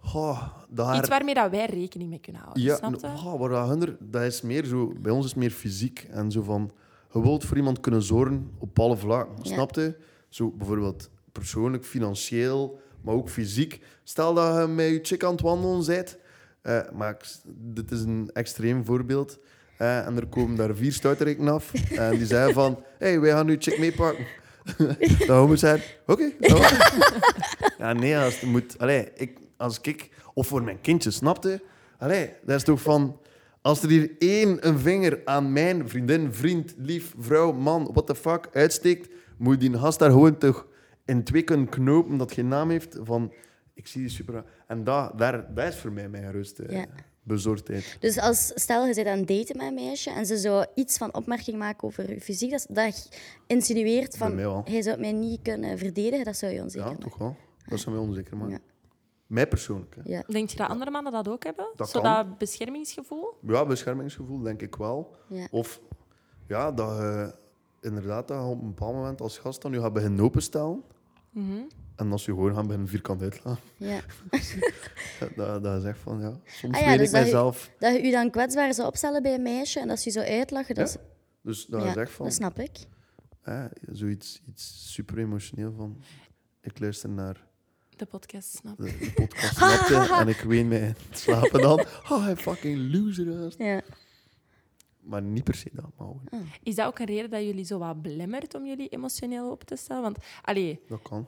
C: Goh,
B: Iets
C: daar...
B: waarmee dat wij rekening mee kunnen houden.
C: Ja,
B: snap je?
C: nou, goh, waar dat hinder- dat is meer zo, bij ons is het meer fysiek en zo van, je wilt voor iemand kunnen zorgen op alle vlakken,
A: Ja.
C: snap je? Zo bijvoorbeeld persoonlijk, financieel, maar ook fysiek. Stel dat je met je chick aan het wandelen bent, eh, maar ik s- dit is een extreem voorbeeld, eh, en er komen daar vier stuiterikken af en die zeggen van, hé, hey, wij gaan nu chick meepakken. Dan moet zijn, oké. dat
A: (laughs)
C: wordt- ja, nee, als het moet, allee, ik, als ik, of voor mijn kindje, snapte. Allee, dat is toch van... Als er hier één een vinger aan mijn vriendin, vriend, lief, vrouw, man, what the fuck, uitsteekt, moet die gast daar gewoon toch in twee kunnen knopen dat geen naam heeft van... Ik zie die super... En dat, daar, dat is voor mij mijn rust, eh,
A: Ja.
C: bezorgdheid.
A: Dus als, stel, je zit aan het daten met een meisje en ze zou iets van opmerking maken over je fysiek, dat, dat insinueert
C: Bij mij
A: van,
C: wel.
A: hij zou mij niet kunnen verdedigen, dat zou je onzeker
C: Ja,
A: maken.
C: toch wel. Dat zou mij onzeker maken.
A: Ja.
C: Mij persoonlijk. Hè.
A: Ja,
B: Denk je dat andere mannen dat ook hebben?
C: Dat
B: Zo
C: kan.
B: dat beschermingsgevoel?
C: Ja, beschermingsgevoel denk ik wel.
A: Ja.
C: Of ja, dat je inderdaad dat je op een bepaald moment als gast dan je gaat beginnen openstellen.
A: Mhm.
C: En als je gewoon gaan beginnen vierkant uitlaan.
A: ja.
C: (laughs) Dat- Dat, dat is echt van, ja, soms
A: Ah ja,
C: weet
A: dus
C: ik
A: dat je-
C: mijzelf.
A: Dat je je dan kwetsbaar zou opstellen bij een meisje en dat ze je zou uitlachen, dat,
C: Ja,
A: is-
C: Dus dat
A: ja,
C: is echt van,
A: dat snap ik.
C: hè, zoiets iets super emotioneel van... Ik luister naar
B: De podcast, snap
C: de,
A: (laughs)
C: de podcast Snapte en ik ween mij in het slapen dan. (laughs) Oh, hij fucking loser. gast.
A: Ja.
C: Maar niet per se dat, maar gewoon,
A: Ah.
B: Is dat ook een reden dat jullie zo wat belemmert om jullie emotioneel op te stellen? Want, allee,
C: dat kan.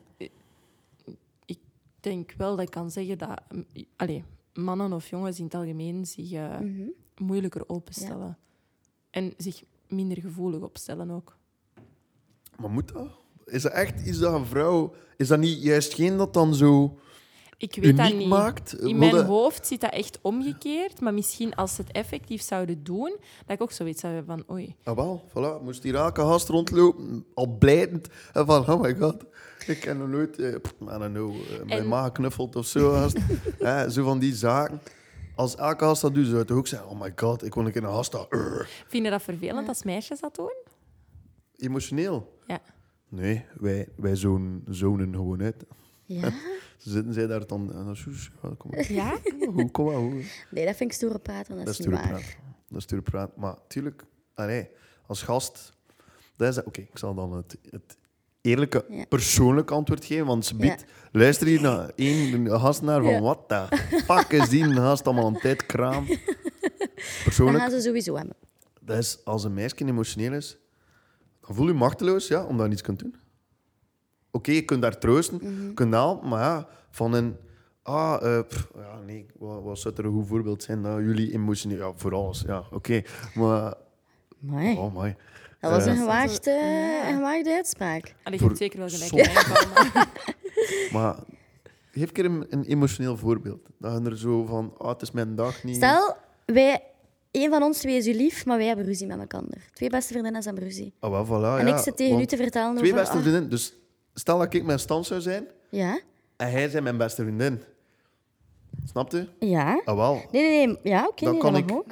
B: ik denk wel dat ik kan zeggen dat... mm, i- Allee, mannen of jongens in het algemeen zich eh, moeilijker openstellen. En zich minder gevoelig opstellen ook.
C: Maar moet dat? Is dat echt is dat een vrouw? Is dat niet juist geen dat dan zo
B: Ik weet dat
C: uniek
B: niet.
C: maakt?
B: In
C: Wil
B: mijn
C: dat-
B: hoofd zit dat echt omgekeerd. Maar misschien als ze het effectief zouden doen, dat ik ook zoiets zou hebben van... Oei,
C: Ah, wel, voilà. Moest die rake gast rondlopen, al blijdend. En van, oh my god, ik ken nog nooit, eh, pff, I don't know, eh, mijn
B: En-
C: ma geknuffeld of zo. gast. Eh, zo van die zaken. Als elke gast dat doet, zou het ook zijn, oh my god, ik kon een keer een gast dat... eh,
B: vind je dat vervelend als meisjes dat doen?
C: emotioneel.
B: Ja.
C: Nee, wij, wij zonen, zonen gewoon uit.
A: Ja?
C: (laughs) Zitten zij daar dan... en dan zoes, ja, kom maar,
B: Ja?
C: kom maar, kom maar. hoe.
A: Nee, dat vind ik stoere praten, want dat, is niet
C: stoere
A: waar.
C: praat. Dat is stoere praat. Maar tuurlijk, allee, als gast... dat is dat- Oké, ik zal dan het, het eerlijke,
A: Ja.
C: persoonlijk antwoord geven. Want ze
A: Ja.
C: biedt, luister hier naar één gast naar van
A: Ja.
C: wat de fuck is die gast allemaal aan tijd
A: (laughs)
C: kraam.
A: Dan
C: Persoonlijk,
A: gaan ze sowieso hebben.
C: dat is als een meisje emotioneel is, dan voel je je machteloos ja, omdat je niets kunt doen. Oké, je kunt daar troosten,
A: Mhm.
C: je kunt helpen, maar ja, van een... Ah, eh, pff, ja, nee, wat, wat zou er een goed voorbeeld zijn? dat jullie emotioneel... Ja, voor alles, ja, oké. Maar...
A: Mooi.
C: Oh, mooi.
A: Dat was
C: Eh,
A: een gewaagde,
B: Ja.
A: een gewaagde uitspraak.
B: (laughs) Allee, je
C: Voor
B: hebt zeker wel gelijk.
C: sommige-
B: hè, Paul, maar-
C: Maar geef een keer een, een emotioneel voorbeeld. Dat je er zo van... Ah, het is mijn dag niet...
A: Stel, wij, een van ons twee is u lief, maar wij hebben ruzie met elkaar. Twee beste vriendinnen hebben ruzie.
C: Ah, wel, voilà,
A: en
C: ja,
A: ik zit tegen u
C: want
A: te vertellen
C: Twee
A: over...
C: beste
A: ah,
C: vriendinnen. Dus stel dat ik mijn stand zou zijn
A: ja?
C: en hij zijn mijn beste vriendin. Snap je?
A: Ja?
C: Ah, wel.
A: Nee, nee, nee. Ja, oké,
C: Dan
A: nee,
C: kan
A: dat
C: ik-
A: mag ook.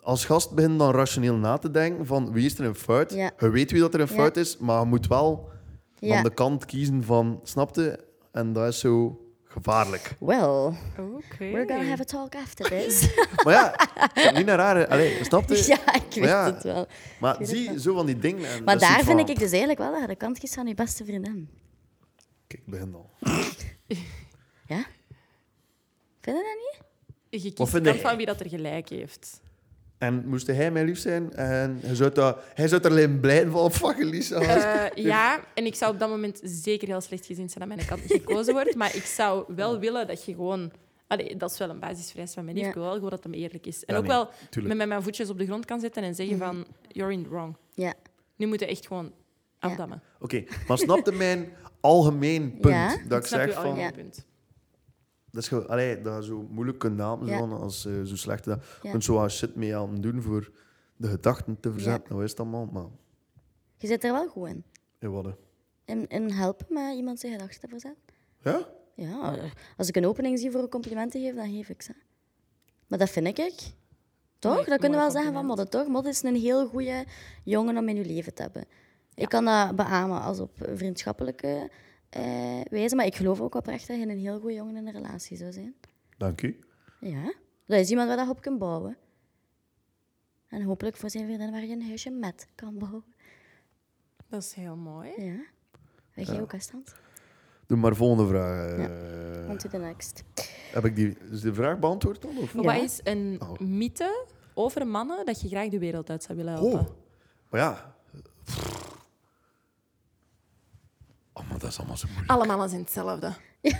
C: als gast begin dan rationeel na te denken van wie is er een fout.
A: Ja.
C: Je weet wie dat er een
A: Ja.
C: fout is, maar je moet wel
A: Ja.
C: aan de kant kiezen van, snapte? En dat is zo gevaarlijk. (laughs)
A: Well,
B: (laughs) Oké.
A: we're gonna have a talk (laughs) after this.
C: Maar ja, ik vind het niet naar rare. Allee, snapte?
A: Dus- (laughs) ja, ik weet
C: ja.
A: het wel.
C: Maar zie, zo van die dingen. en
A: Maar
C: dat is
A: daar
C: iets
A: vind
C: van-
A: ik dus eigenlijk wel dat je de kant kiest van je beste vriendin.
C: Kijk, ik begin al.
A: Ja? Vind je dat niet?
B: Je kiest
C: Wat
B: de
C: vind
B: kant
C: jij?
B: van wie dat er gelijk heeft.
C: En moest hij mijn lief zijn en hij zou, dat, hij zou er alleen blij van, "Oh, fucking Lisa.
B: Eh, ja, en ik zou op dat moment zeker heel slecht gezien zijn dat mijn kant gekozen wordt. Maar ik zou wel willen dat je gewoon... Allee, dat is wel een basisvereis van mijn lief.
A: Ja.
B: Ik wil wel gewoon dat hem eerlijk is. En
C: Ja,
B: ook
C: nee,
B: wel
C: tuurlijk. Mhm.
B: me met mijn voetjes op de grond kan zetten en zeggen van... You're in the wrong.
A: Ja.
B: Nu moet je echt gewoon afdammen.
C: Oké, maar snapte mijn algemeen punt?
A: Ja,
C: dat ik
B: snap
C: zeg
B: je
C: van...
B: al
A: Ja.
B: je punt.
C: Dat is gewoon, allee, dat je zo moeilijk kunt namen,
A: Ja.
C: zo van als eh, zo slecht. Dat. Je
A: Ja.
C: kunt zo wat shit mee aan doen voor de gedachten te verzetten. Nou is het allemaal, maar
A: Je zit er wel goed in.
C: in wat, hè.
A: In, in helpen met iemand zijn gedachten te verzetten.
C: Ja?
A: Ja, als ik een opening zie voor een compliment te geven, dan geef ik ze. Maar dat vind ik ik. Toch?
B: Mooi-
A: dat kunnen we
B: mooi
A: wel zeggen van Modde, toch? Modde is een heel goede jongen om in uw leven te hebben. Ik kan dat beamen als op vriendschappelijke eh, wezen. Maar ik geloof ook oprecht dat je een heel goede jongen in een relatie zou zijn.
C: Dank u.
A: Ja. Dat is iemand waar je op kunt bouwen. En hopelijk voor zijn vriendin waar je een huisje met kan bouwen.
B: Dat is heel mooi.
A: Ja. Wij jij ook afstand.
C: Doe maar volgende vraag. eh.
A: On to the next.
C: Heb ik die, is de vraag beantwoord al? Of?
A: Ja.
B: Wat is een
C: Oh.
B: mythe over mannen dat je graag de wereld uit zou willen helpen?
C: Oh, maar ja. Oh, maar dat is allemaal zo moeilijk.
B: Alle mannen zijn hetzelfde.
C: Ik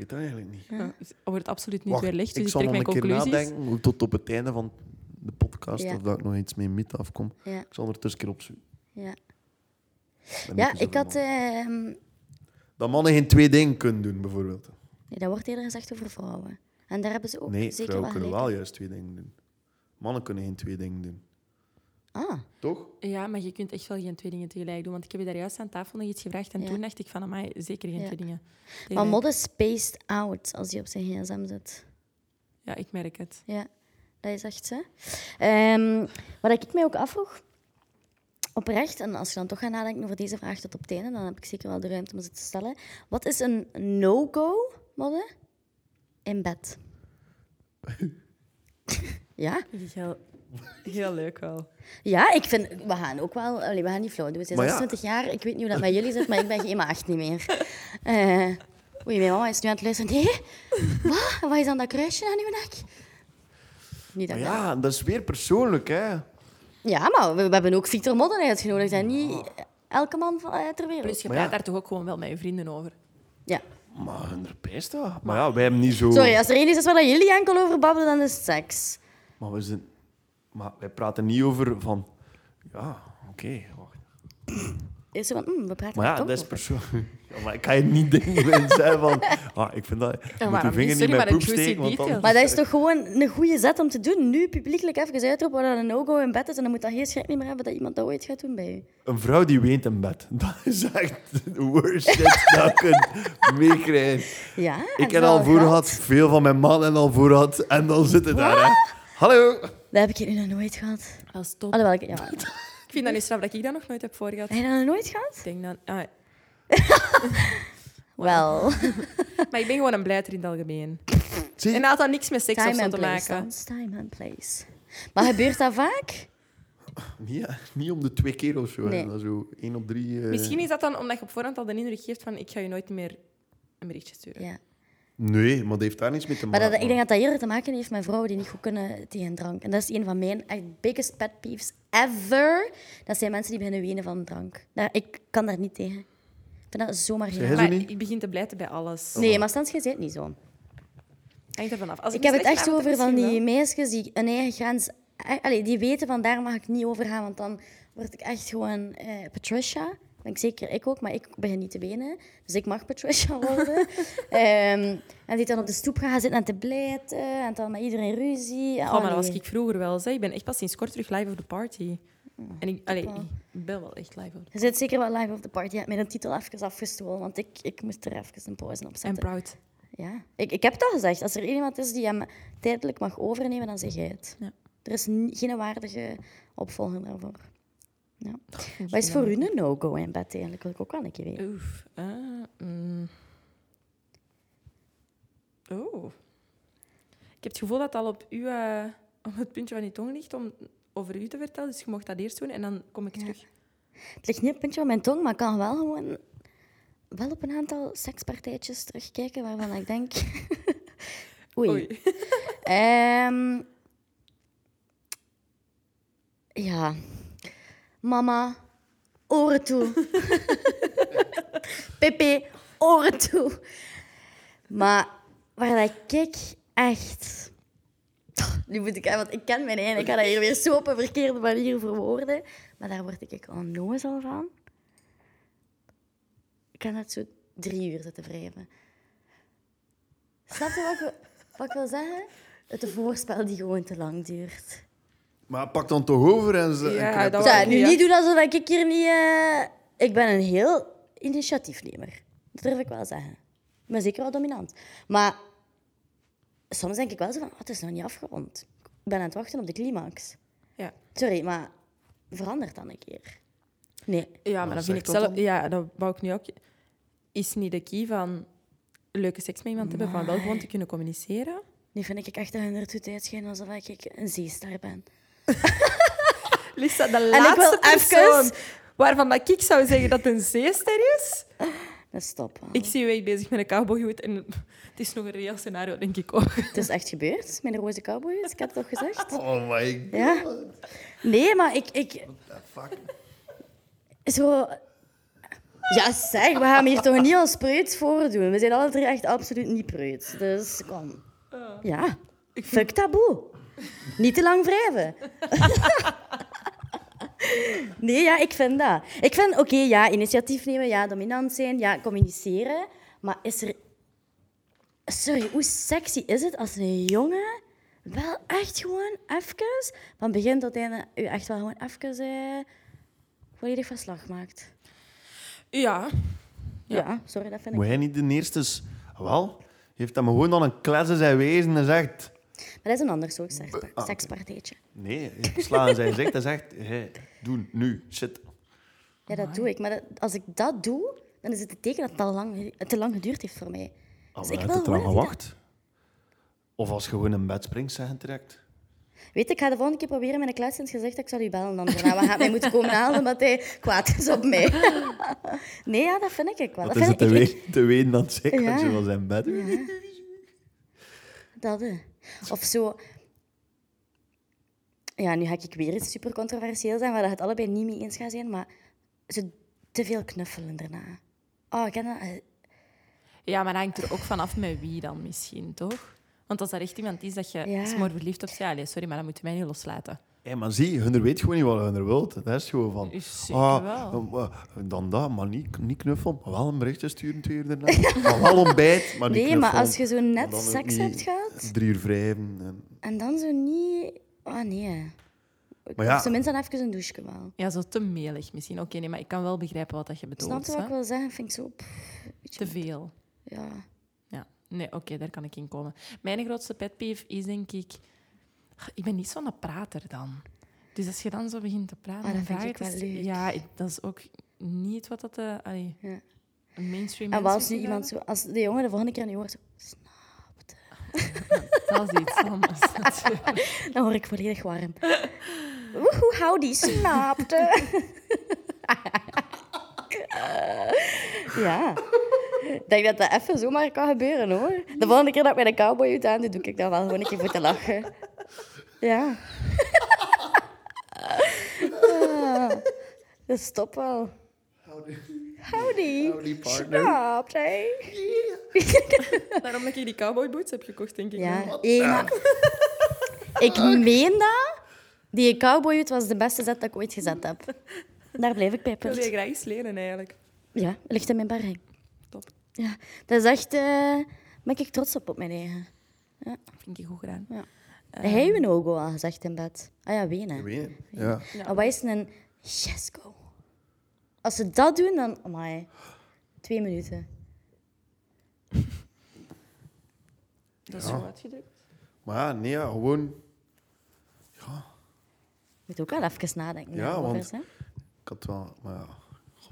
C: weet dat eigenlijk niet.
B: Het wordt absoluut niet
C: Wacht,
B: weer licht, dus
C: ik
B: ik
C: zal
B: trek
C: nog
B: mijn
C: een keer
B: conclusies.
C: nadenken hoe- tot op het einde van de podcast
A: Ja.
C: of dat ik nog iets mee mythe afkom.
A: Ja,
C: Ik zal er tussen keer opzoeken.
A: ja.
C: Dan
A: ja
C: moet je
A: ik
C: zo
A: had...
C: van-
A: ehm,
C: Dat mannen geen twee dingen kunnen doen, bijvoorbeeld.
A: nee, dat wordt eerder gezegd over vrouwen. En daar hebben ze ook
C: Nee,
A: zeker
C: vrouwen kunnen
A: gelijk.
C: wel juist twee dingen doen. Mannen kunnen geen twee dingen doen.
A: Ah,
C: Toch?
B: Ja, maar je kunt echt wel geen twee dingen tegelijk doen. Want ik heb je daar juist aan tafel nog iets gevraagd en
A: Ja.
B: toen dacht ik van, amai, zeker geen
A: Ja.
B: twee dingen.
A: maar
B: tegelijk.
A: Mod is spaced out als hij op zijn gsm zit.
B: Ja, ik merk het.
A: Ja, dat is echt zo. Ehm, wat ik mij ook afvroeg, oprecht, en als je dan toch gaat nadenken over deze vraag tot op het einde, dan heb ik zeker wel de ruimte om ze te stellen. Wat is een no-go, modde? In
C: (laughs)
A: bed. ja?
B: Dat is heel, heel leuk wel.
A: ja, ik vind, we gaan ook wel, allee, we gaan niet flauw doen. We zijn
C: Maar ja.
A: 26 jaar, ik weet niet hoe dat met jullie zit, maar ik ben geen 8 niet meer. Eh oei, mijn mama is nu aan het luisteren. Nee, wat? Wat is dan dat kruisje aan uw nek? Niet dat
C: Maar
A: ik
C: ja, dat is weer persoonlijk, hè.
A: Ja, maar we, we hebben ook Victor Modden uitgenodigd en
C: Ah.
A: niet elke man van, eh, ter wereld.
B: Plus, Dus je
C: Maar
B: praat
C: ja.
B: daar toch ook gewoon wel met je vrienden over.
A: Ja.
C: Maar hun verpest dat. Maar ja, wij hebben niet zo...
A: Sorry, als er één is waar dat jullie enkel over babbelen, dan is het seks.
C: Maar, we zijn... maar wij praten niet over van... Ja, oké, wacht.
A: Is zo van, hm, we praten
C: Maar ja,
A: er toch
C: dat is
A: over.
C: persoonlijk. (laughs) Ja, maar ik kan je niet dingen (laughs) zeggen van... Ah, ik vind dat... Je moet
B: waarom
C: je
B: niet?
C: vinger
B: Sorry,
C: niet met
B: maar
C: poep
B: een juicy
C: steken, want dan...
B: detail.
A: Maar dat is toch gewoon een goede zet om te doen? Nu publiekelijk even uitroepen waar een no-go in bed is en dan moet dat geen schrik niet meer hebben dat iemand dat ooit gaat doen bij u.
C: Een vrouw die weent in bed. (laughs) Dat is echt de worst shit dat je kunt meekrijgen.
A: Ja, en
C: Ik
A: het
C: heb al
A: wel
C: voor
A: gehad.
C: gehad, veel van mijn mannen al voor gehad. En dan zit het daar, hè.
A: Ah.
C: Hallo.
A: Dat heb ik hier nu nog nooit gehad.
B: Dat is top.
A: Alhoewel, ik, ja.
B: Ik vind dat nu straf dat ik dat nog nooit heb voorgehad.
A: Heb je dat nog nooit gehad?
B: Ik denk dan... ah,
A: Wel.
B: maar ik ben gewoon een blijter in het algemeen.
C: Zie,
B: En dat had dan niks met seks of
A: Time
B: zo
A: and
B: te
A: place,
B: maken.
A: dan. Time and place. Maar gebeurt dat vaak?
C: niet, niet om de twee keer of zo. hè.
A: Nee.
C: Dat is zo één op drie. eh.
B: Misschien is dat dan omdat je op voorhand al de indruk geeft van ik ga je nooit meer een berichtje sturen.
A: Ja.
C: Nee, maar dat heeft daar niets mee te
A: Maar
C: maken.
A: dat, ik denk dat dat eerder te maken heeft met vrouwen die niet goed kunnen tegen drank. En dat is een van mijn echt biggest pet peeves ever. Dat zijn mensen die beginnen wenen van drank. Daar, ik kan daar niet tegen. Ik vind dat zomaar
C: Zeg
A: geen...
C: jij zo
B: Maar
C: niet?
B: ik begin te blijten bij alles.
A: Nee, maar Stans, jij bent niet zo.
B: Hangt ervan af. Als
A: Ik
B: me
A: heb het
B: slecht
A: echt
B: laat,
A: over
B: dan
A: van
B: misschien
A: die
B: wel.
A: meisjes die een eigen grens... eh, Allee, die weten van daar mag ik niet over gaan, want dan word ik echt gewoon eh, Patricia. Ben ik zeker, ik ook, maar ik begin niet te wenen. Dus ik mag Patricia (laughs) worden. Ehm, en die dan op de stoep gaan zitten en te blijten. En dan met iedereen ruzie.
B: Oh, maar dat was
A: nee.
B: ik vroeger wel. Zeg. Ik ben echt pas sinds kort terug live op de party. En ik, allee, ik ben wel echt live op de
A: Je zit zeker wel live op de party. Je hebt mij de titel even afgestolen, want ik, ik moest er even een pauze op
B: En
A: zetten.
B: proud.
A: Ja. Ik, ik heb het al gezegd. Als er iemand is die hem tijdelijk mag overnemen, dan zeg jij het.
B: Ja.
A: Er is ni- geen waardige opvolger daarvoor. Ja. Wat is voor u een no-go in bed eigenlijk? Wil ik ook wel een keer weten.
B: Oef. eh, mm. Oh. Ik heb het gevoel dat het al op, u, eh, op het puntje van je tong ligt om over u te vertellen. Dus je mocht dat eerst doen en dan kom ik terug.
A: Het ligt niet op het puntje van mijn tong, maar ik kan wel gewoon wel op een aantal sekspartijtjes terugkijken waarvan ik denk... (laughs) Oei.
B: Oei.
A: Ehm ja. Mama, oren toe. Pepe, oren toe. Maar waar dat ik echt... Nu moet ik... Want ik ken mijn eigen. Ik ga dat hier weer zo op een verkeerde manier verwoorden. Maar daar word ik onnozel van. Ik kan dat zo drie uur zitten wrijven. Snap je wat ik, wil- wat ik wil zeggen? Het voorspel die gewoon te lang duurt.
C: Maar pak dan toch over en ze...
B: Ja,
C: en knijp
B: dat
C: het.
A: Zo,
B: wou ik
A: nu
B: niet,
A: niet doen alsof ik hier niet... eh, Ik ben een heel initiatiefnemer. Dat durf ik wel zeggen. Ik ben zeker wel dominant. Maar soms denk ik wel zo van, oh, het is nog niet afgerond. Ik ben aan het wachten op de climax.
B: (laughs) Ja.
A: Sorry, maar verandert dan een keer. Nee.
B: Ja, maar dat
C: dat zeg
B: vind ik
C: dat
B: zelf... Ja, dat wou ik nu ook. Is niet de key van leuke seks met iemand te hebben, van wel gewoon te kunnen communiceren?
A: Nu vind ik echt een toe uitschijnen alsof ik een zeester ben.
B: Lisa, de
A: wil
B: laatste persoon
A: even-
B: waarvan dat ik zou zeggen dat het een zeester is.
A: Dat is top. hè.
B: Ik zie je echt bezig met een cowboyhoed en het is nog een reëel scenario, denk ik ook.
A: Het is echt gebeurd met een roze cowboy, dus ik had het toch (laughs) gezegd?
C: Oh my god.
A: Ja. Nee, maar ik, ik...
C: Fuck.
A: Zo... Ja, zeg, we gaan hier toch niet ons preuts voor doen. We zijn alle drie echt absoluut niet preuts. Dus kom. Ja. Fuck taboe. Niet te lang wrijven. (laughs) Nee, ja, ik vind dat. Ik vind, oké, ja, initiatief nemen, ja, dominant zijn, ja, communiceren. Maar is er... Sorry, hoe sexy is het als een jongen wel echt gewoon even, van begin tot einde, u echt wel gewoon even eh, volledig van slag maakt?
B: Ja.
A: Ja. sorry, dat vind ik.
C: Moet hij niet de eerste... s- Wel, heeft dat me gewoon aan een klasse zijn wezen en zegt...
A: Maar dat is een ander soort seks-
C: Ah,
A: sekspartijtje.
C: Nee, ik sla aan zijn gezicht en zegt... Hey, doe nu, shit.
A: Ja, dat doe ik. Maar dat- als ik dat doe, dan is het een teken dat het al lang, het te lang geduurd heeft voor mij.
C: Al
A: Dus ik
C: heb
A: wil
C: het eraan
A: gewoon dat die
C: gewacht. Of als je gewoon in bed springt, zeg het direct.
A: Weet je, ik ga de volgende keer proberen met een kluis in het gezicht dat ik zal u bellen. Dan daarna, we gaan mij moeten komen halen omdat hij kwaad is op mij. (laughs) Nee, ja, dat vind ik wel.
C: Dat
A: Dat,
C: is
A: vind
C: het te,
A: ik, ik-
C: we- te ween dan zeker,
A: Ja.
C: want je was in bed.
A: dat, hè. Of zo... Ja, nu ga ik weer iets super controversieel zijn, waar dat het allebei niet mee eens gaat zijn, maar ze te veel knuffelen daarna. Oh, ik ken dat... eh,
B: Ja, maar dat hangt er ook vanaf met wie dan misschien, toch? Want als er echt iemand is dat je
A: Ja.
B: ja. smoor verliefd op zit, allee, sorry, maar dan moet je mij niet loslaten.
C: Hé, maar zie, hun weet gewoon niet wat hun wilt. Dat is gewoon van... ah,
B: Is zeker wel.
C: eh, eh, Dan dat, maar niet, niet knuffelen. Maar wel een berichtje sturen twee uur daarna. (laughs) maar wel ontbijt, maar niet
A: Nee, maar
C: knuffelen.
A: als je zo net
C: Dan ook
A: seks
C: niet
A: hebt gehad
C: Drie uur wrijven. En...
A: en dan zo niet. Ah nee.
C: Maar ja.
A: Of tenminste dan even een douche wel.
B: Ja, zo te melig misschien. Oké, nee, maar ik kan wel begrijpen wat dat je
A: Snap
B: bedoelt.
A: je wat
B: hè?
A: ik wil zeggen? Vind ik zo. pff,
B: Te veel.
A: ja.
B: Ja, nee, oké, daar kan ik in komen. Mijn grootste pet peeve is denk ik... Ah, Ik ben niet zo'n prater dan. Dus als je dan zo begint te praten...
A: Ah, dat
B: dan
A: vind
B: vraag
A: ik
B: het
A: wel
B: eens-
A: leuk.
B: Ja, ik- dat is ook niet wat dat de allee,
A: Ja.
B: een mainstream
A: En
B: mens
A: wat als nu
B: misschien
A: iemand zo. Als de jongen de volgende keer aan je hoort. Zo,
B: wel. (laughs) Dat is iets
A: (laughs)
B: anders. natuurlijk.
A: dan hoor ik volledig warm. Woehoe, hou die snapte. (laughs) ja. Ik denk dat dat even zomaar kan gebeuren hoor. De volgende keer dat ik mij een cowboy uit aan doe, doe ik dat wel gewoon een keer voor te lachen. Ja. Ah, dat stopt wel. Howdy. Howdy, partner.
B: Daarom dat ik die cowboyboots heb gekocht, denk ik.
A: Ja, eh, maar- Ik meen dat. Die cowboyhoed was de beste zet dat ik ooit gezet heb. Daar blijf ik bij.
B: Ik wil je
A: punt.
B: graag eens leren, eigenlijk.
A: Ja, ligt in mijn barring.
B: Top.
A: Ja, dat is echt... eh ben ik trots op, op mijn eigen.
B: Vind ik goed gedaan.
A: Hij heeft een no-go al gezegd in bed. Ah ja, wenen.
C: Ween. Ja.
A: Maar wij zijn een yes go. Als ze dat doen, dan... Amai. Twee minuten.
B: Dat is zo uitgedrukt.
C: Maar ja, nee, ja, gewoon...
A: Moet ook wel even nadenken.
C: Ja,
A: daarover,
C: want-
A: hè.
C: Ik had wel... Maar ja...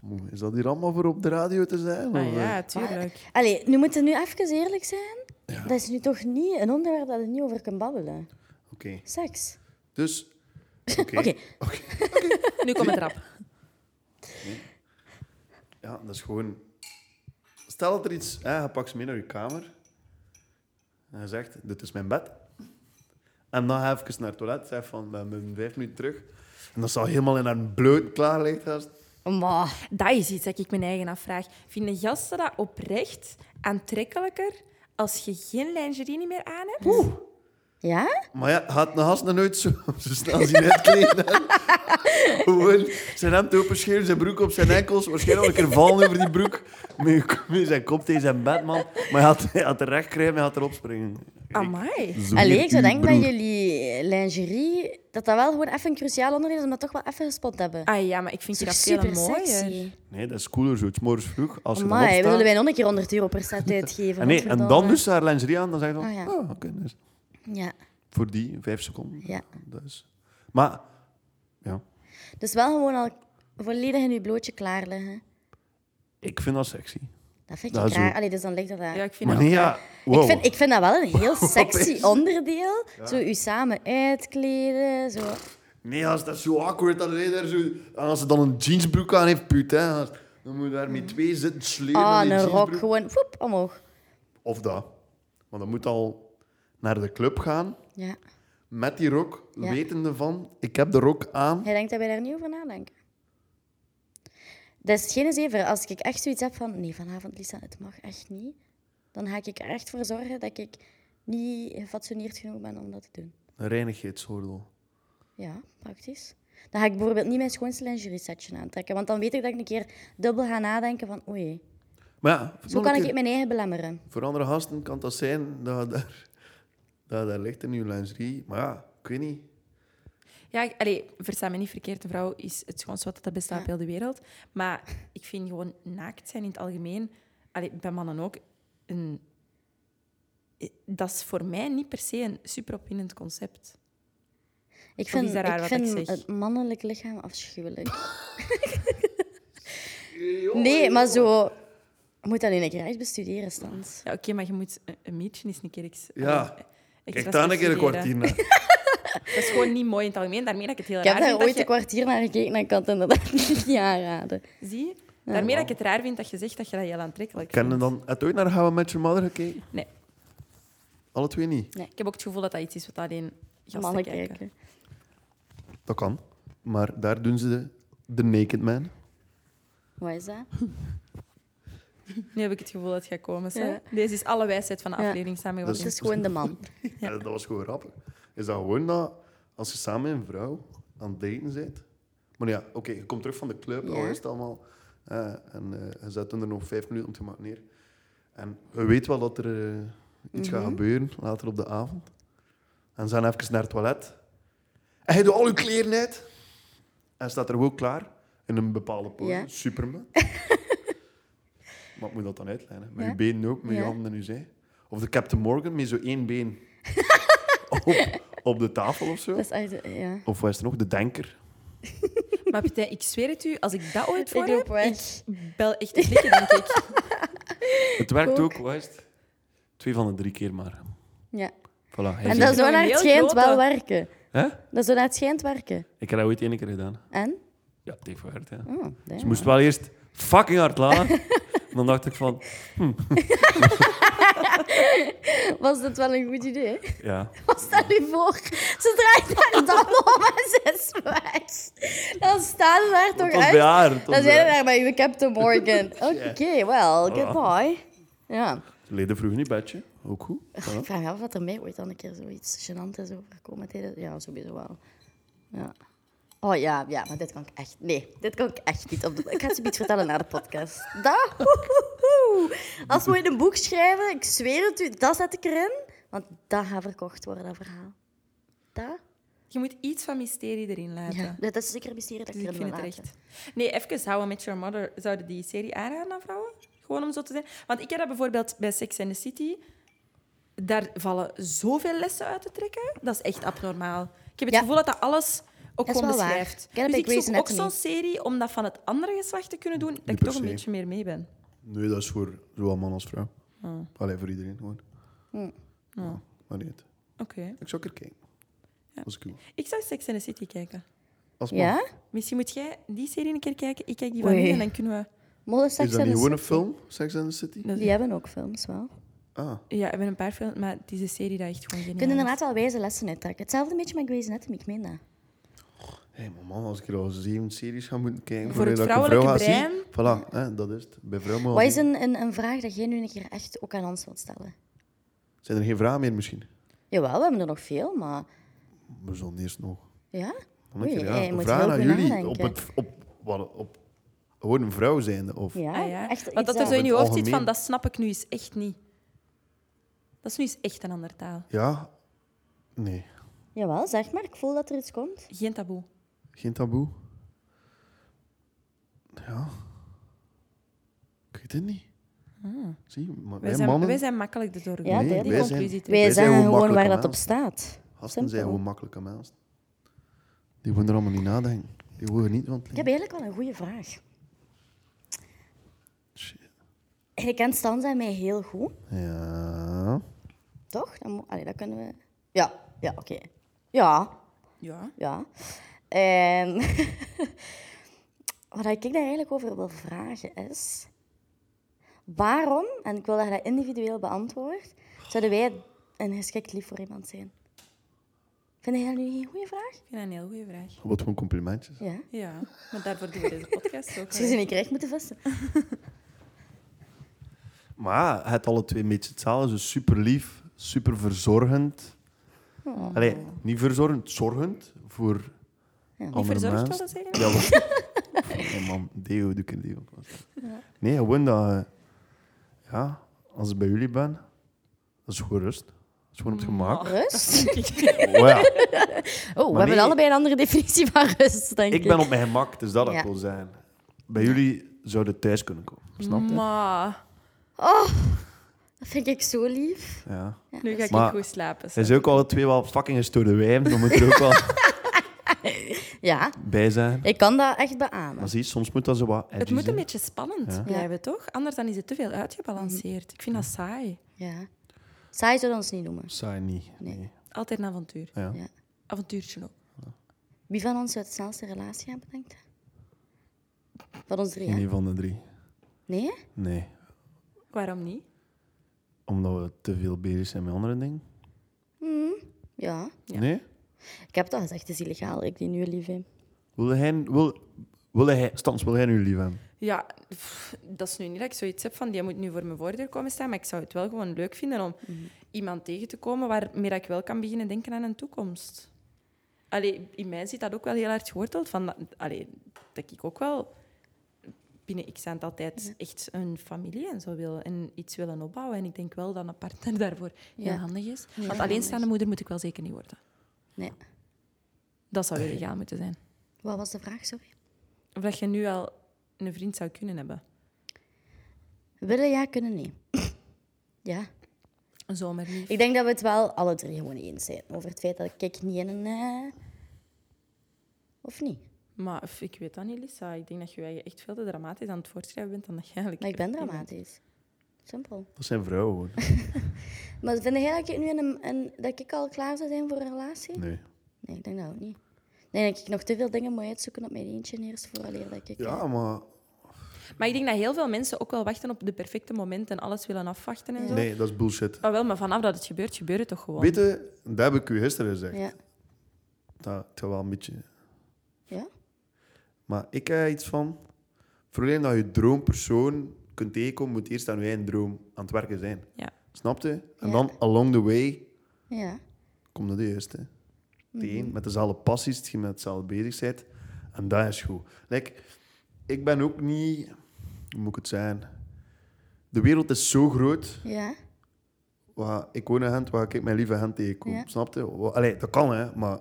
C: Goh, Is dat hier allemaal voor op de radio te
B: Ah
C: zijn? Of, eh?
B: ja, tuurlijk.
A: Allee, nu moeten we nu even eerlijk zijn. Dat is nu toch niet een onderwerp dat je niet over kan babbelen.
C: Oké.
A: Seks.
C: Dus... Oké.
A: Oké.
B: Nu komt het rap.
C: Ja, dat is gewoon... Stel dat er iets... Hè, je pakt ze mee naar je kamer. En je zegt, dit is mijn bed. En dan ga je even naar het toilet. Zeg van, ben ben vijf minuten terug. En dan zal helemaal in haar bloot klaar liggen.
A: Maar...
B: Dat is iets dat ik mijn eigen afvraag. Vinden gasten dat oprecht aantrekkelijker als je geen lingerie meer aan hebt?
A: Ja?
C: Maar ja, gaat een gast nog nooit zo, (laughs) zo snel zien uitkleden. (laughs) hè. Gewoon zijn hemd openscheren, zijn broek op zijn enkels. Waarschijnlijk nog een keer vallen over die broek. Met, met zijn kop tegen zijn bed, man. Maar hij had, hij had er recht krijgen, hij had erop springen.
B: Amai.
C: Zweer
A: Allee, ik zou
C: u,
A: denken
C: broer.
A: dat jullie lingerie... Dat dat wel gewoon even een cruciaal onderdeel is om dat toch wel even gespot te hebben.
B: Ah ja, maar ik vind je
A: Dat
B: dat
A: is
B: veel
A: super
B: mooier.
A: sexy.
C: Nee, dat is cooler zo. Het is morgens vroeg. Als je dan
A: Amai,
C: opstaat...
A: willen wij nog een keer 100 euro per
C: (laughs)
A: set uitgeven?
C: En, nee, en
A: Godverdomme.
C: dan dus haar lingerie aan, dan zeg je dan...
A: Ah,
C: Ah,
A: ja.
C: oké, dus
A: Ja,
C: voor die vijf seconden.
A: ja.
C: Dat is... Maar... Ja.
A: Dus wel gewoon al volledig in je blootje klaar liggen.
C: Ik vind dat sexy.
A: Dat vind
C: Dat
A: ik
C: is
A: raar.
C: ook-
A: Allee, dus dan ligt dat daar.
B: Ja, ik vind
C: Maar
B: dat
C: nee,
B: ook
C: ja, wow.
A: Ik, vind, ik vind dat wel een
C: Oh.
A: heel sexy
C: (laughs) Opeens.
A: onderdeel. Zo u samen uitkleden, zo.
C: Nee, als dat zo awkward dat hij daar zo... Als ze dan een jeansbroek aan heeft, putain. als- Dan moet je daar met twee zitten slepen.
A: Ah,
C: in die
A: een rok,
C: jeansbroek.
A: gewoon woep, omhoog.
C: Of dat. Want dan moet al naar de club gaan
A: Ja.
C: met die rok,
A: Ja.
C: wetende van, ik heb de rok aan.
A: Hij denkt dat wij daar niet over nadenken. Dat is geen zever. Als ik echt zoiets heb van, nee, vanavond, Lisa, het mag echt niet. Dan ga ik er echt voor zorgen dat ik niet gefatsoeneerd genoeg ben om dat te doen.
C: Een reinigheidsoordeel.
A: Ja, praktisch. Dan ga ik bijvoorbeeld niet mijn schoonste lingerie setje aantrekken. Want dan weet ik dat ik een keer dubbel ga nadenken van, oei,
C: Maar ja, nog
A: zo
C: een
A: kan ik
C: keer.
A: mijn eigen belemmeren.
C: voor andere gasten kan dat zijn dat je daar, dat je daar ligt in je lingerie. Maar ja, ik weet niet.
B: Ja, ik- allee, versta me niet verkeerd. Een vrouw is het schoonste wat er bestaat op heel de wereld. Maar ik vind gewoon naakt zijn in het algemeen, allee, bij mannen ook, een, eh, dat is voor mij niet per se een super opwindend concept.
A: Ik
B: Of
A: vind,
B: is dat raar
A: ik
B: wat ik
A: vind
B: zeg?
A: het mannelijk lichaam afschuwelijk. nee, maar zo... Je moet dat nu een keer echt bestuderen, Stans.
B: Ja, oké, maar je moet een, een meetje eens een keer... Ex,
C: Ja.
B: allee, extra
C: Kijk daar een keer een
B: studeren. (laughs)
C: kwartier naar.
B: Dat is gewoon niet mooi in het algemeen. Daarmee dat ik het heel
A: Ik
B: raar
A: heb daar
B: vind dat
A: ooit een
B: je-
A: kwartier naar gekeken en ik kan het inderdaad (laughs) niet aanraden.
B: Zie? Daarmee dat ik het raar vind dat je zegt dat je dat heel aantrekkelijk
C: Ken je
B: vindt.
C: dan het ooit naar How I Met Your Mother gekeken?
B: Nee.
C: Alle twee niet?
B: Ik heb ook het gevoel dat dat iets is wat alleen gasten
A: Mannen
B: kijken.
A: kijken.
C: Dat kan. Maar daar doen ze de, de Naked Man.
A: Wat is dat?
B: Nu heb ik het gevoel dat het gaat komen. hè.
A: Ja.
B: Deze is alle wijsheid van de
A: Ja.
B: aflevering samengevat.
A: Het is gewoon de man.
C: Ja, dat was gewoon grappig. Is dat gewoon dat als je samen met een vrouw aan het daten bent... Maar ja, oké, je komt terug van de club,
A: Ja.
C: al is het allemaal... eh, en eh, je zet hem er nog vijf minuten om te maken neer. En je weet wel dat er eh, iets
A: Mhm.
C: gaat gebeuren later op de avond. En ze gaan even naar het toilet. En hij doet al je kleren uit. En staat er gewoon klaar. In een bepaalde pose.
A: Ja. (laughs)
C: Superman. maar ik moet dat dan uitlijnen. Met
A: Ja.
C: je benen ook, met je
A: Ja.
C: handen en je zij. Of de Captain Morgan met zo één been op, op de tafel of zo.
A: Dat is echt... Ja.
C: Of wat is er nog? De denker.
B: Maar Pieter, ik zweer het u, als
A: (laughs)
B: ik dat ooit voor
A: Ik loop
B: heb,
A: weg.
B: ik bel echt de blikken, denk ik.
C: Het werkt ook, wat is het? Twee van de drie keer maar.
A: ja.
C: Voilà, hij
A: En
C: zegt
A: dat
C: het.
A: zou
B: Een
A: naar het
B: heel
A: schijnt wel
B: grote.
A: werken.
C: Hè?
A: Dat zou naar het schijnt werken.
C: Ik heb dat ooit één keer gedaan.
A: En? (laughs)
C: Ja, het heeft gewerkt, ja.
A: Oh,
C: Ze
A: damn.
C: moest wel eerst fucking
A: (laughs)
C: hard lachen. En dan dacht ik van,
A: Was dat wel een goed idee? (laughs)
C: ja.
A: Wat stel je voor? Ze draait haar dan (laughs) om en ze is weg. Dan staan ze daar
C: Dat
A: toch
C: was bij
A: uit.
C: haar. dat was
A: Dan
C: bij
A: zijn we
C: haar.
A: daar bij uw Captain
C: (laughs)
A: Morgan. Oké, well, goodbye. Ja.
C: Ze leden vroeg niet bedje. Ook goed. Voilà.
A: Ik vraag me af wat er mij ooit dan een keer zoiets gênant is overkomen. tijdens- Ja, sowieso wel. Ja. Oh ja, ja, maar dit kan ik echt... Nee, dit kan ik echt niet. Op de... Ik ga het zoiets vertellen na de podcast. Dat? Hoehoehoe. (laughs) Als we ooit een boek schrijven, ik zweer het u, dat zet ik erin. Want dat gaat verkocht worden, dat verhaal. Dat?
B: Je moet iets van mysterie erin laten.
A: Ja, dat is zeker een mysterie dat
B: Dus
A: ik
B: ik
A: erin
B: vind
A: wil
B: het
A: laten.
B: echt. Nee, even houden met Your Mother. Zouden die serie aanraden aan vrouwen? Gewoon om zo te zijn. Want ik heb dat bijvoorbeeld bij Sex and the City. Daar vallen zoveel lessen uit te trekken. Dat is echt abnormaal. Ik heb het
A: Ja.
B: gevoel dat dat alles ook
A: Dat is
B: gewoon
A: wel waar.
B: beschrijft.
A: Ik ken het
B: dus
A: bij
B: ik
A: Grey's
B: zoek ook
A: Anatomy.
B: zo'n serie om dat van het andere geslacht te kunnen doen, dat ik
C: per
B: toch een
C: se.
B: beetje meer mee ben.
C: Nee, dat is voor zowel man als vrouw.
A: Oh.
C: Allee, voor iedereen gewoon.
A: Hm.
C: Ja, maar niet. uit.
B: Oké.
C: Ik zou er kijken. Dat is cool.
B: Ik zou Sex and the City kijken.
C: Als man.
A: Ja?
B: Misschien moet jij die serie een keer kijken. Ik kijk die van
A: Oei.
B: nu en dan kunnen we...
A: Modder
C: Is
A: Sex
C: dat
A: and
C: niet
A: the
C: gewoon een
A: City.
C: film, Sex and the City?
A: Die hebben ook films wel.
C: Ah,
B: Ja, we hebben een paar films, maar het is een serie dat echt gewoon
A: Je
B: geniaal
A: kunt
B: is.
A: inderdaad wel wijze lessen uittrekken. Hetzelfde beetje met Grey's Anatomy, ik meen dat.
C: hé, maar man, als ik er al zeven series ga moeten kijken...
B: Voor het
C: voordat ik een
B: vrouwelijke
C: vrouw ga zien, Voilà, hè, dat is het. Bij vrouwen moet
A: Wat
C: al
A: is
C: zien.
A: een, een, een vraag dat jij nu een keer echt ook aan ons wilt stellen?
C: Zijn er geen vragen meer misschien?
A: Jawel, we hebben er nog veel, maar
C: We zullen eerst nog...
A: ja.
C: Dan denk
A: Oei,
C: je,
A: eh,
C: ja,
A: je
C: een
A: moet
C: vraag
A: heel
C: aan
A: goed
C: jullie.
A: nadenken.
C: Op het, op, wat, op, gewoon een vrouw zijnde. Of,
A: Ja,
B: Ah, ja.
A: echt iets
B: Want
A: eh,
B: dat er zo
A: dat-
B: in je
C: Het
B: hoofd zit
C: algemeen.
B: van, dat snap ik nu eens echt niet. Dat is nu eens echt een andere taal.
C: ja, nee.
A: Jawel, zeg maar, ik voel dat er iets komt.
B: Geen taboe.
C: Geen taboe. Ja. Ik weet het niet.
A: Ah.
C: Zie,
B: Wij
C: maar wij
B: zijn,
C: mannen,
B: wij zijn makkelijk de doorgang.
A: Ja,
C: Nee,
A: duidelijk.
B: die
C: wij
B: conclusie
C: zijn-
B: terug.
A: Wij
C: zijn
A: zeggen
C: gewoon
A: gewoon waar
C: makkelijke
A: dat op staat.
C: gasten zijn
A: Simpel.
C: gewoon makkelijke mensen. Die moeten er allemaal niet nadenken. Je hoort niet van het
A: Ik heb eigenlijk wel een goede vraag.
C: Shit.
A: Je kent Stanza en mij heel goed,
C: Ja.
A: toch? Dan, mo- allee, dat kunnen we... Ja, ja, oké. Ja,
B: Ja.
A: ja. En (laughs) wat ik daar eigenlijk over wil vragen is... Waarom, en ik wil dat je dat individueel beantwoord, zouden wij een geschikt lief voor iemand zijn? Vind je dat nu geen goede vraag?
B: Ik vind dat een heel goede vraag.
C: Wat gewoon complimentjes.
A: Ja.
B: Ja, maar daarvoor doen we deze podcast
A: (laughs)
B: ook.
A: Ze
B: hè.
A: zijn niet recht moeten
C: (laughs)
A: vissen.
C: Maar het alle twee een beetje hetzelfde. Dus super lief, super verzorgend. Allee, niet verzorgend, zorgend voor
B: Niet
C: andere
B: verzorgd
C: mensen.
B: willen zeggen?
C: Ja, wat... Nee, man, Deo, doe ik een Deo. Nee, gewoon dat... eh, Ja, als ik bij jullie ben, dat is gewoon rust. Dat is gewoon op het gemak.
A: Rust?
C: Oh, ja.
A: (laughs) Oh, we
C: Maar
A: hebben
C: nee.
A: allebei een andere definitie van rust, denk ik.
C: Ik ben op mijn gemak, dus dat dat
A: Ja.
C: wil zijn. Bij jullie zouden thuis kunnen komen, snap
B: Mm.
C: je?
B: Maar,
A: Oh, Dat vind ik zo lief.
C: Ja.
B: nu ga ik
C: Maar-
B: goed slapen.
C: Hij is ook alle twee wel fucking gestoorde wijven, dan moet je er ook wel
A: Ja,
C: bij zijn.
A: ik kan dat echt beamen.
C: Maar zie, soms moet dat zo wat edgy
B: Het moet een
C: zijn.
B: beetje spannend blijven, toch? Anders dan is het te veel
A: Mhm.
B: uitgebalanceerd. Ik vind dat saai.
A: Ja. Saai zullen we ons niet noemen.
C: Saai niet. Nee.
B: Altijd een avontuur.
C: Ja.
A: Ja.
B: Avontuurtje ook.
A: Wie van ons zou het snelste relatie hebben, denk je? Van ons drie, hè?
C: Geen van de drie.
A: Nee? hè?
C: Nee.
B: Waarom niet?
C: Omdat we te veel bezig zijn met andere dingen.
A: Ja.
C: Nee?
A: Ik heb dat gezegd, het is illegaal. Ik die nu lief in.
C: Wil hij... Wil, wil hij Stans, wil hij nu lief hebben?
B: Ja, pff, dat is nu niet dat ik zoiets heb van die moet nu voor mijn voordeur komen staan, maar ik zou het wel gewoon leuk vinden om iemand tegen te komen waarmee dat ik wel kan beginnen denken aan een toekomst. Allee, in mij zit dat ook wel heel hard geworteld, van dat, allee, dat ik ook wel binnen x aantal tijd echt een familie en zo wil en iets willen opbouwen. En ik denk wel dat een partner (laughs) daarvoor heel
A: Ja.
B: handig is.
A: Heel
B: Want
A: handig.
B: alleenstaande moeder moet ik wel zeker niet worden.
A: Nee.
B: Dat zou illegaal moeten zijn.
A: Wat was de vraag, sorry?
B: Of dat je nu al een vriend zou kunnen hebben.
A: Willen ja, kunnen nee. (clears throat) ja.
B: Zomaar niet.
A: Ik denk dat we het wel alle drie gewoon eens zijn. Over het feit dat ik niet in een... eh, Of niet?
B: Maar f- ik weet dat niet, Lisa. Ik denk dat je je echt veel te dramatisch aan het voortschrijven bent dan dat je eigenlijk...
A: Maar ik ben
B: effectief
A: dramatisch. Simpel.
C: Dat zijn vrouwen gewoon.
A: Maar vind jij dat ik nu in een, een- dat ik al klaar zou zijn voor een relatie?
C: Nee.
A: Nee, ik denk dat ook niet. Ik denk dat ik nog te veel dingen moet uitzoeken op mijn eentje eerst vooraleer dat ik...
C: Ja, maar...
B: bent. Maar ik denk dat heel veel mensen ook wel wachten op de perfecte momenten en alles willen afwachten en zo.
C: Nee, dat is bullshit.
B: Ah, wel, maar vanaf dat het gebeurt, gebeurt het toch gewoon.
C: Weet je, dat heb ik u gisteren gezegd.
A: eh, Ja.
C: Dat, dat wel een beetje...
A: Ja?
C: Maar ik heb iets van... Voordat dat je droompersoon kunt tegenkomen, moet eerst aan je eigen droom aan het werken zijn.
B: Ja.
C: Snap je? En
A: Ja.
C: dan, along the way,
A: Ja.
C: komt dat de juiste. De een met dezelfde passies, die met hetzelfde bezig bent. En dat is goed. Like, ik ben ook niet... Hoe moet ik het zijn? De wereld is zo groot.
A: Ja.
C: Waar ik woon in Gent, waar ik mijn lieve Gent tegenkom.
A: Ja.
C: Snap je? Wa- Allee, dat kan, hè. Maar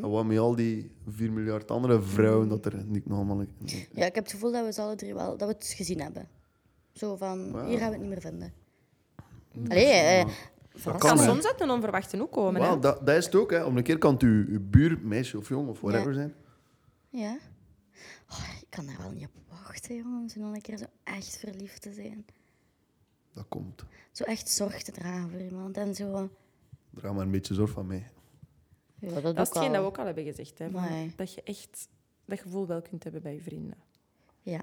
C: wat met al die 4 miljard andere vrouwen dat er niet normaal...
A: Ja, ik heb het gevoel dat we ze alle drie wel... Dat we het gezien hebben. Zo van, hier gaan we het niet meer vinden. Allee, eh,
C: Mm. Dat
A: verrassend.
B: Het kan
C: hè.
B: soms uit een onverwachte hoek komen.
C: Wauw,
B: hè.
C: dat, dat is het ook, hè. Om een keer kan het uw, uw buur, meisje of jong of whatever
A: Ja.
C: zijn.
A: Ja. Oh, ik kan daar wel niet op wachten, jongens. En dan een keer zo echt verliefd te zijn.
C: Dat komt.
A: Zo echt zorg te dragen voor iemand en zo.
C: Draag maar een beetje zorg van mij.
A: Ja, dat,
B: Dat is hetgeen dat we ook al hebben gezegd. Hè, van
A: Nee.
B: Dat je echt dat gevoel wel kunt hebben bij je vrienden.
A: Ja.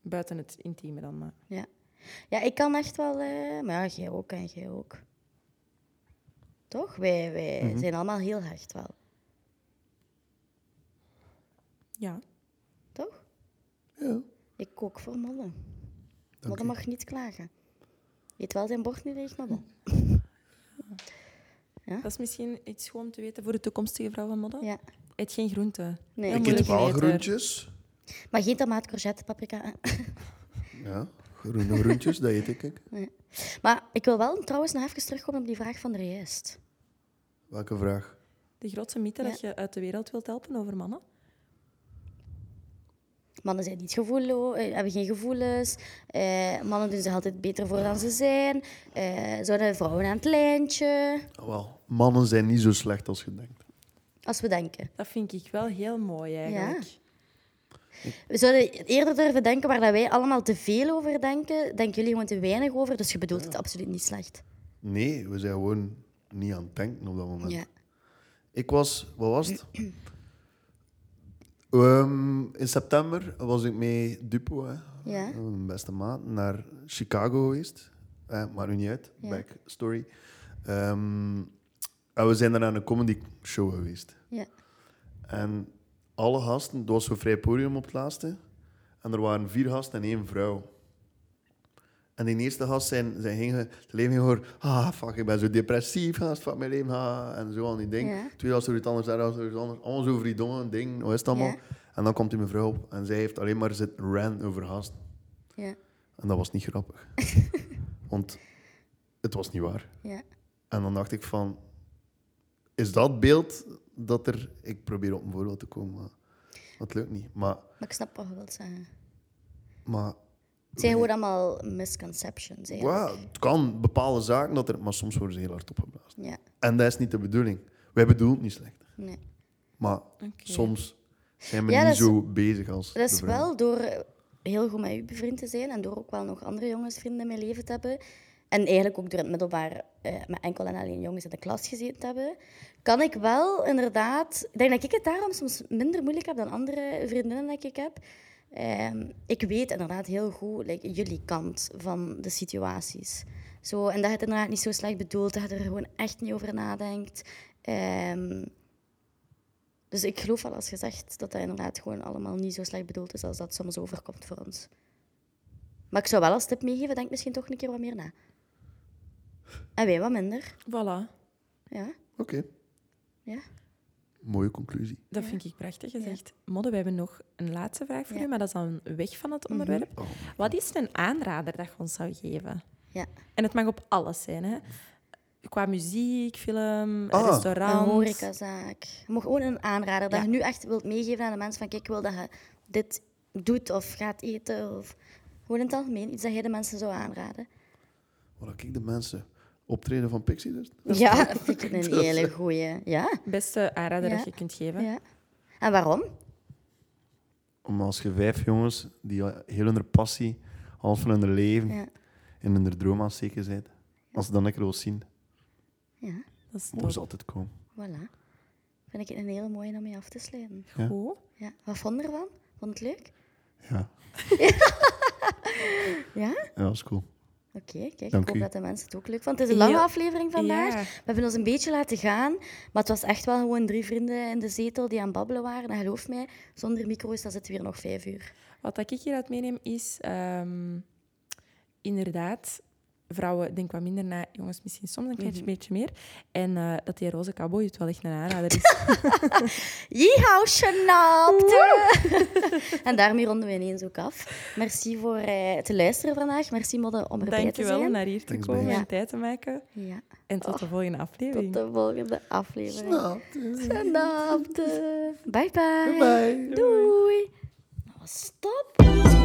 B: Buiten het intieme dan. Maar.
A: Ja. ja, ik kan echt wel... eh, maar ja, jij ook en jij ook. Toch? Wij, wij
C: Mhm.
A: zijn allemaal heel hard wel.
B: Ja.
A: Toch?
C: Ja.
A: Ik kook voor mannen.
C: Dank
A: Modden mag niet klagen. Eet wel zijn bord niet leeg, maar bon.
B: Dat is misschien iets goed om te weten voor de toekomstige vrouwenmodel.
A: Ja.
B: Eet geen groenten.
A: Nee.
B: Heel
A: Ik eet
C: Ik eet
B: moeilijk
C: wel
B: eten.
C: groentjes.
A: Maar geen tomaat, courgette, paprika. eh.
C: Ja, groene groentjes, dat eet ik. ik.
A: Maar ik wil wel trouwens nog even terugkomen op die vraag van de juist.
C: Welke vraag?
B: De grootste mythe dat je uit de wereld wilt helpen over mannen.
A: Mannen zijn niet gevoelloos, hebben geen gevoelens. Eh, mannen doen zich altijd beter voor dan ze zijn. Eh, zouden vrouwen aan het lijntje.
C: Ah, wel, mannen zijn niet zo slecht als je denkt.
A: Als we denken.
B: Dat vind ik wel heel mooi eigenlijk.
A: We zouden eerder durven denken waar dat wij allemaal te veel over denken. Denken jullie gewoon te weinig over. Dus je bedoelt het absoluut niet slecht.
C: Nee, we zijn gewoon niet aan het denken op dat moment.
A: Ja.
C: Ik was, wat was
A: (clears throat)
C: het? Ehm, in september was ik mee Dupo, hè.
A: Ja.
C: mijn beste maat, naar Chicago geweest. Eh, maar nu niet uit,
A: Ja.
C: backstory. Ehm, en we zijn daar naar een comedy show geweest.
A: Ja.
C: En alle gasten, het was zo'n vrij podium op het laatste. En er waren vier gasten en één vrouw. En die eerste gast zijn, zijn ging, het leven ging hoor, ah fuck, ik ben zo depressief, gast, fuck mijn leven, ah," en zo aan die ding.
A: Ja.
C: Twee als er iets anders, daar als er iets anders, allemaal zo over die domme ding, hoe is het allemaal?
A: Ja.
C: En dan komt die mevrouw op en zij heeft alleen maar zit rant over gasten.
A: Ja.
C: En dat was niet
A: (laughs)
C: grappig. Want het was niet waar.
A: Ja.
C: En dan dacht ik van, is dat beeld dat er... Ik probeer op een voorbeeld te komen, maar dat lukt niet. Maar,
A: Maar ik snap wat je wilt zeggen.
C: maar
A: Het zijn gewoon allemaal misconceptions. eigenlijk.
C: ja, het kan bepaalde zaken, dat er, maar soms worden ze heel hard opgeblazen.
A: Ja.
C: En dat is niet de bedoeling. Wij bedoelen het niet slecht.
A: Nee.
C: Maar soms zijn we
A: Ja,
C: niet
A: dat is-
C: zo bezig als
A: Dat is
C: de vrouwen.
A: wel door eh, heel goed met u bevriend te zijn en door ook wel nog andere jongensvrienden in mijn leven te hebben. En eigenlijk ook door het middelbaar eh, met enkel en alleen jongens in de klas gezeten te hebben. Kan ik wel inderdaad. Ik denk dat ik het daarom soms minder moeilijk heb dan andere vriendinnen dat ik heb. Ehm, ik weet inderdaad heel goed like, jullie kant van de situaties. Zo, en dat je het inderdaad niet zo slecht bedoelt, dat je er gewoon echt niet over nadenkt. Ehm, dus ik geloof wel als gezegd dat dat inderdaad gewoon allemaal niet zo slecht bedoeld is als dat soms overkomt voor ons. Maar ik zou wel als tip meegeven, denk misschien toch een keer wat meer na. En wij wat minder.
B: Voilà.
A: Ja,
C: Oké,
A: ja.
C: mooie conclusie.
B: Dat vind ik prachtig gezegd. Modde, we hebben nog een laatste vraag voor u, maar dat is dan weg van
A: Mhm.
B: het onderwerp.
C: Oh.
B: Wat is een aanrader dat je ons zou geven?
A: ja.
B: En het mag op alles zijn, hè? Qua muziek, film,
C: Ah.
A: Een
B: restaurant.
A: horecazaak. Je mag gewoon een aanrader dat je nu echt wilt meegeven aan de mensen van kijk, ik wil dat je dit doet of gaat eten. Of... Gewoon in het algemeen, iets dat jij de mensen zou aanraden.
C: Wat ik de mensen optreden van Pixie dus?
A: Ja, (laughs) dat vind ik een hele goeie. Ja,
B: Beste aanrader
A: Ja.
B: dat je kunt geven.
A: ja. En waarom?
C: Om als je vijf jongens die al heel hun passie, half van hun leven
A: Ja.
C: en hun droom aan het steken zijn, als ze dan lekker wil zien,
A: Ja,
B: Dat is
C: moeten
B: toch
C: ze altijd komen.
A: voilà. Vind ik een hele mooie om mee af te sluiten.
C: Ja.
B: goed.
A: Ja, wat vond je ervan? Vond je het leuk?
C: Ja,
A: Ja?
C: ja dat is cool.
A: Oké, kijk,
C: Dank
A: ik hoop
C: u.
A: dat de mensen het ook leuk vonden. Het is een lange
B: Heel-
A: aflevering vandaag.
B: Ja.
A: We hebben ons een beetje laten gaan, maar het was echt wel gewoon drie vrienden in de zetel die aan het babbelen waren. En geloof mij, zonder micro's, dan zitten we hier nog vijf uur.
B: Wat dat ik hieruit meeneem is ehm, inderdaad, vrouwen denken wat minder na, jongens misschien soms een klein
A: Mhm.
B: beetje meer. En eh, dat die roze cowboy het wel echt een aanrader is.
A: Yeehaw, genapt! (laughs) en daarmee ronden we ineens ook af. Merci voor eh, te luisteren vandaag. Merci, Modde, om erbij te
B: Dankjewel
A: zijn.
B: om naar hier te
C: Thanks,
B: komen
A: babe.
B: en tijd te maken.
A: Ja,
B: En tot de volgende aflevering.
A: tot de volgende aflevering.
B: (laughs)
A: Genapt! Bye, bye.
C: Bye.
A: Doei. Nou, stop.